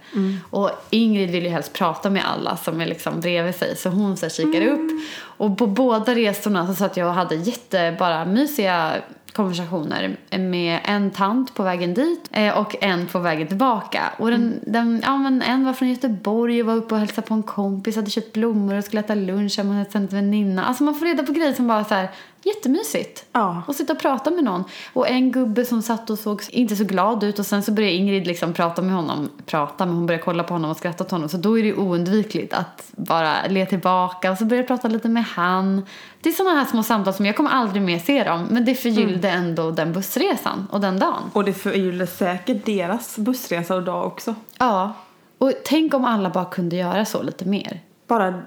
Speaker 2: Och Ingrid vill ju helst prata med alla som är liksom bredvid sig så hon så här kikar upp. Och på båda resorna så satt jag och hade jätte bara mysiga konversationer med en tant på vägen dit eh, och en på vägen tillbaka. Och den, den, ja, men en var från Göteborg och var uppe och hälsade på en kompis, hade köpt blommor och skulle äta lunch hemma hos en väninna. Alltså man får reda på grejer som bara så här, jättemysigt.
Speaker 1: Ja.
Speaker 2: Och sitta och prata med någon. Och en gubbe som satt och såg inte så glad ut och sen så började Ingrid liksom prata med honom, prata, men hon började kolla på honom och skratta åt honom. Så då är det ju oundvikligt att bara le tillbaka och så började jag prata lite med han. Det är sådana här små samtal som jag kommer aldrig mer se dem, men det förgyllde ändå den bussresan och den dagen.
Speaker 1: Och det förgyller säkert deras bussresa och dag också.
Speaker 2: Ja, och tänk om alla bara kunde göra så lite mer.
Speaker 1: Bara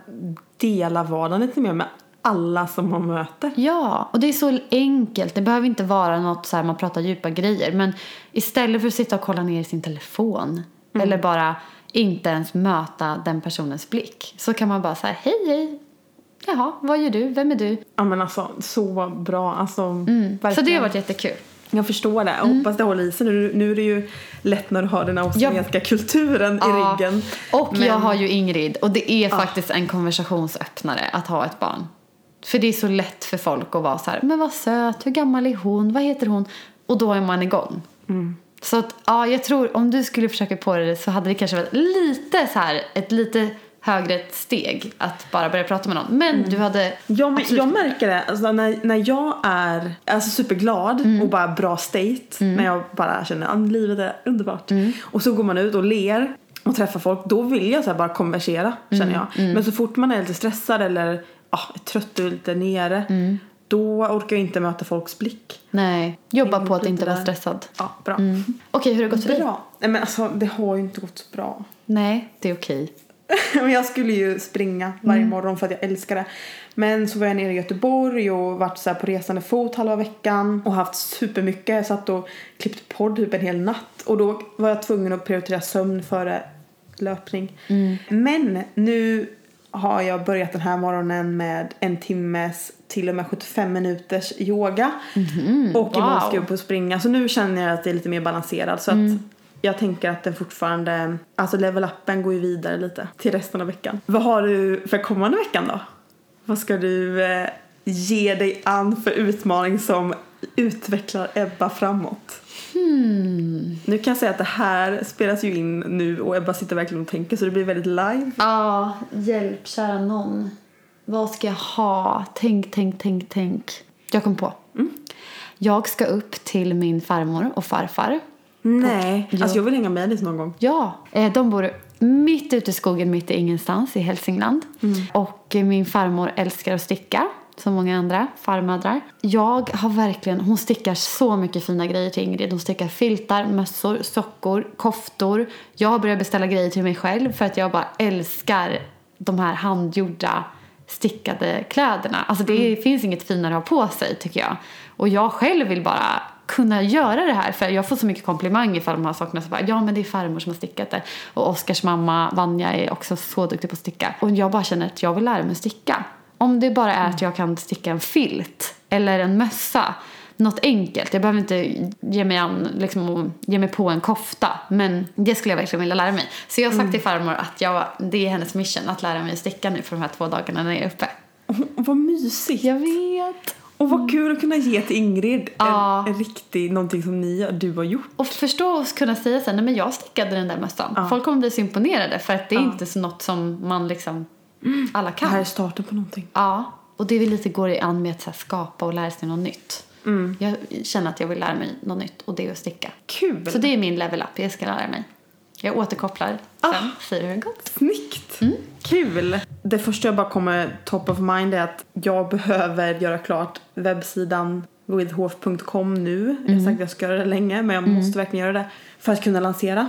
Speaker 1: dela vardagen lite mer med alla som man möter.
Speaker 2: Ja, och det är så enkelt. Det behöver inte vara något så här man pratar djupa grejer. Men istället för att sitta och kolla ner i sin telefon eller bara inte ens möta den personens blick så kan man bara säga hej hej. Jaha, vad gör du? Vem är du?
Speaker 1: Ja men alltså så bra. Alltså,
Speaker 2: Mm, Så
Speaker 1: verkligen.
Speaker 2: det har varit Mm. jättekul.
Speaker 1: Jag förstår det. Jag hoppas det håller i sig nu. Nu är det ju lätt när du har den australienska kulturen i
Speaker 2: Ja.
Speaker 1: ryggen.
Speaker 2: Och
Speaker 1: Men-
Speaker 2: jag har ju Ingrid och det är faktiskt en konversationsöppnare att ha ett barn. För det är så lätt för folk att vara så här, men vad söt, hur gammal är hon, vad heter hon? Och då är man igång.
Speaker 1: Mm.
Speaker 2: Så att, ja, jag tror om du skulle försöka på det så hade det kanske varit lite så här, ett lite högre steg att bara börja prata med någon. Men du hade
Speaker 1: Mm. Ja, men
Speaker 2: absolut-
Speaker 1: jag märker det. Alltså, när, när jag är alltså, superglad
Speaker 2: Mm.
Speaker 1: och bara bra state. När jag bara känner att livet är underbart.
Speaker 2: Mm.
Speaker 1: Och så går man ut och ler och träffar folk. Då vill jag så här, bara konversera
Speaker 2: Mm.
Speaker 1: känner jag. Men så fort man är lite stressad eller ah, är trött och lite nere.
Speaker 2: Mm.
Speaker 1: Då orkar jag inte möta folks blick.
Speaker 2: Nej, jobba
Speaker 1: Häng
Speaker 2: på
Speaker 1: upp
Speaker 2: att inte
Speaker 1: lite
Speaker 2: vara
Speaker 1: där.
Speaker 2: stressad. Mm.
Speaker 1: Ja, bra.
Speaker 2: Okej, hur har det gått för dig?
Speaker 1: Bra. Nej men alltså det har ju inte gått så bra.
Speaker 2: Nej, det är okej.
Speaker 1: Men jag skulle ju springa varje morgon för att jag älskar det. Men så var jag nere i Göteborg och varit så här på resande fot halva veckan och haft supermycket. Jag satt och klippt podd typ en hel natt och då var jag tvungen att prioritera sömn före löpning. Men nu har jag börjat den här morgonen med en timmes till och med 75 minuters yoga. och imorgon ska jag upp och springa. Så nu känner jag att det är lite mer balanserad. Så att jag tänker att den fortfarande, alltså level-upen går ju vidare lite till resten av veckan. Vad har du för kommande veckan då? Vad ska du eh, ge dig an för utmaning som utvecklar Ebba framåt? Nu kan jag säga att det här spelas ju in nu och Ebba sitter verkligen och tänker så det blir väldigt live.
Speaker 2: Ja, hjälp kära någon. Vad ska jag ha? Tänk, tänk, tänk, tänk. Jag kom på. Jag ska upp till min farmor och farfar.
Speaker 1: Nej, alltså
Speaker 2: Jo.
Speaker 1: jag vill hänga med dig någon gång.
Speaker 2: Ja, eh, de bor mitt ute i skogen, mitt i ingenstans i Hälsingland. Och eh, min farmor älskar att sticka, som många andra farmödrar. Jag har verkligen, hon stickar så mycket fina grejer till Ingrid. Hon stickar filtar, mössor, sockor, koftor. Jag har börjat beställa grejer till mig själv för att jag bara älskar de här handgjorda stickade kläderna. Alltså det finns inget finare att ha på sig tycker jag. Och jag själv vill bara kunna göra det här för jag får så mycket komplimanger för de här sakerna. Så bara, ja men det är farmor som har stickat det. Och Oskars mamma Vanja är också så duktig på att sticka. Och jag bara känner att jag vill lära mig att sticka. Om det bara är att jag kan sticka en filt eller en mössa. Något enkelt. Jag behöver inte ge mig, an, liksom, och ge mig på en kofta. Men det skulle jag verkligen vilja lära mig. Så jag har sagt till farmor att jag, det är hennes mission att lära mig att sticka nu för de här två dagarna när jag är uppe.
Speaker 1: Och vad mysigt!
Speaker 2: Jag vet.
Speaker 1: Och vad kul att kunna ge till Ingrid
Speaker 2: Ja.
Speaker 1: en, en riktig, någonting som ni, gör- du har gjort.
Speaker 2: Och förstå och kunna säga sen, nej men jag stickade den där mössan. Folk kommer bli så imponerade för att det är inte så något som man liksom, alla
Speaker 1: Det
Speaker 2: kan.
Speaker 1: här är starten på någonting.
Speaker 2: Ja, och det är väl lite går i an med att så här, skapa och lära sig något nytt.
Speaker 1: Mm.
Speaker 2: Jag känner att jag vill lära mig något nytt och det är att sticka.
Speaker 1: Kul!
Speaker 2: Så det är min level up, jag ska lära mig. Jag återkopplar sen,
Speaker 1: Ah.
Speaker 2: säger hur det gått.
Speaker 1: Snyggt! Kul! Det första jag bara kommer top of mind är att jag behöver göra klart webbsidan withhof.com nu. Jag har sagt att jag ska göra det länge men jag måste verkligen göra det för att kunna lansera.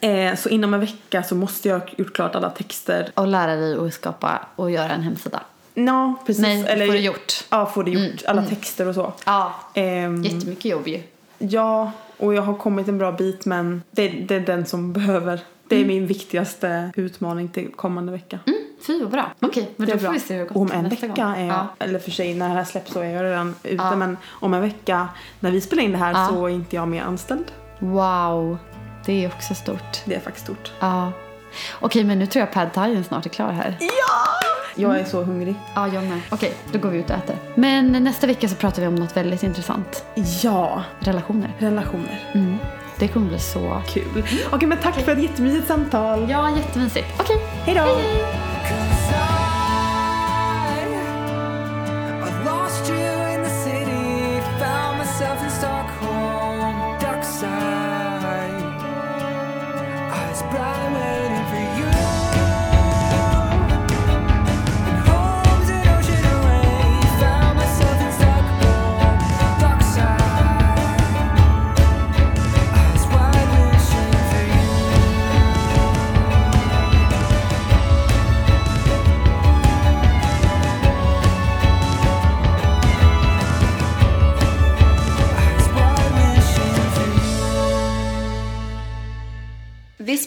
Speaker 1: Eh, så inom en vecka så måste jag ha gjort klart alla texter.
Speaker 2: Och lära dig att skapa och göra en hemsida.
Speaker 1: Ja, precis.
Speaker 2: Nej, får det gjort.
Speaker 1: Ja, Mm, får det gjort. Alla texter och så.
Speaker 2: Ja,
Speaker 1: Ehm,
Speaker 2: Mm. jättemycket jobb ju.
Speaker 1: Ja, och jag har kommit en bra bit men det, det är den som behöver. Det är min viktigaste utmaning till kommande vecka.
Speaker 2: Fy vad bra. Okej, Mm, men
Speaker 1: Det är
Speaker 2: då får
Speaker 1: bra.
Speaker 2: vi se hur det har
Speaker 1: Om
Speaker 2: gått
Speaker 1: en
Speaker 2: nästa
Speaker 1: vecka
Speaker 2: gång.
Speaker 1: är jag,
Speaker 2: Ja.
Speaker 1: eller för sig när det här släpps så är jag redan ute
Speaker 2: Ja.
Speaker 1: men om en vecka när vi spelar in det här
Speaker 2: Ja.
Speaker 1: så är inte jag mer anställd.
Speaker 2: Wow, det är också stort.
Speaker 1: Det är faktiskt stort.
Speaker 2: Ja. Okej, men nu tror jag pad thaien snart är klar här.
Speaker 1: Jag är
Speaker 2: Mm.
Speaker 1: så hungrig.
Speaker 2: Ja, jag med. Okej, då går vi ut och äter. Men nästa vecka så pratar vi om något väldigt intressant.
Speaker 1: Ja,
Speaker 2: Relationer.
Speaker 1: relationer.
Speaker 2: Mm. Det kommer bli så...
Speaker 1: Kul. Okej men tack för ett jättemysigt samtal.
Speaker 2: Ja, jättemysigt. Okej,
Speaker 1: Hej då!
Speaker 2: hej, hej!
Speaker 3: Cause I, I lost you in the city, found myself in Stockholm, dockside. Eyes bright, waiting for you. And home's an ocean away, found myself in Stockholm, dockside. Eyes wide, wishing for you. Eyes wide, wishing for you.
Speaker 4: This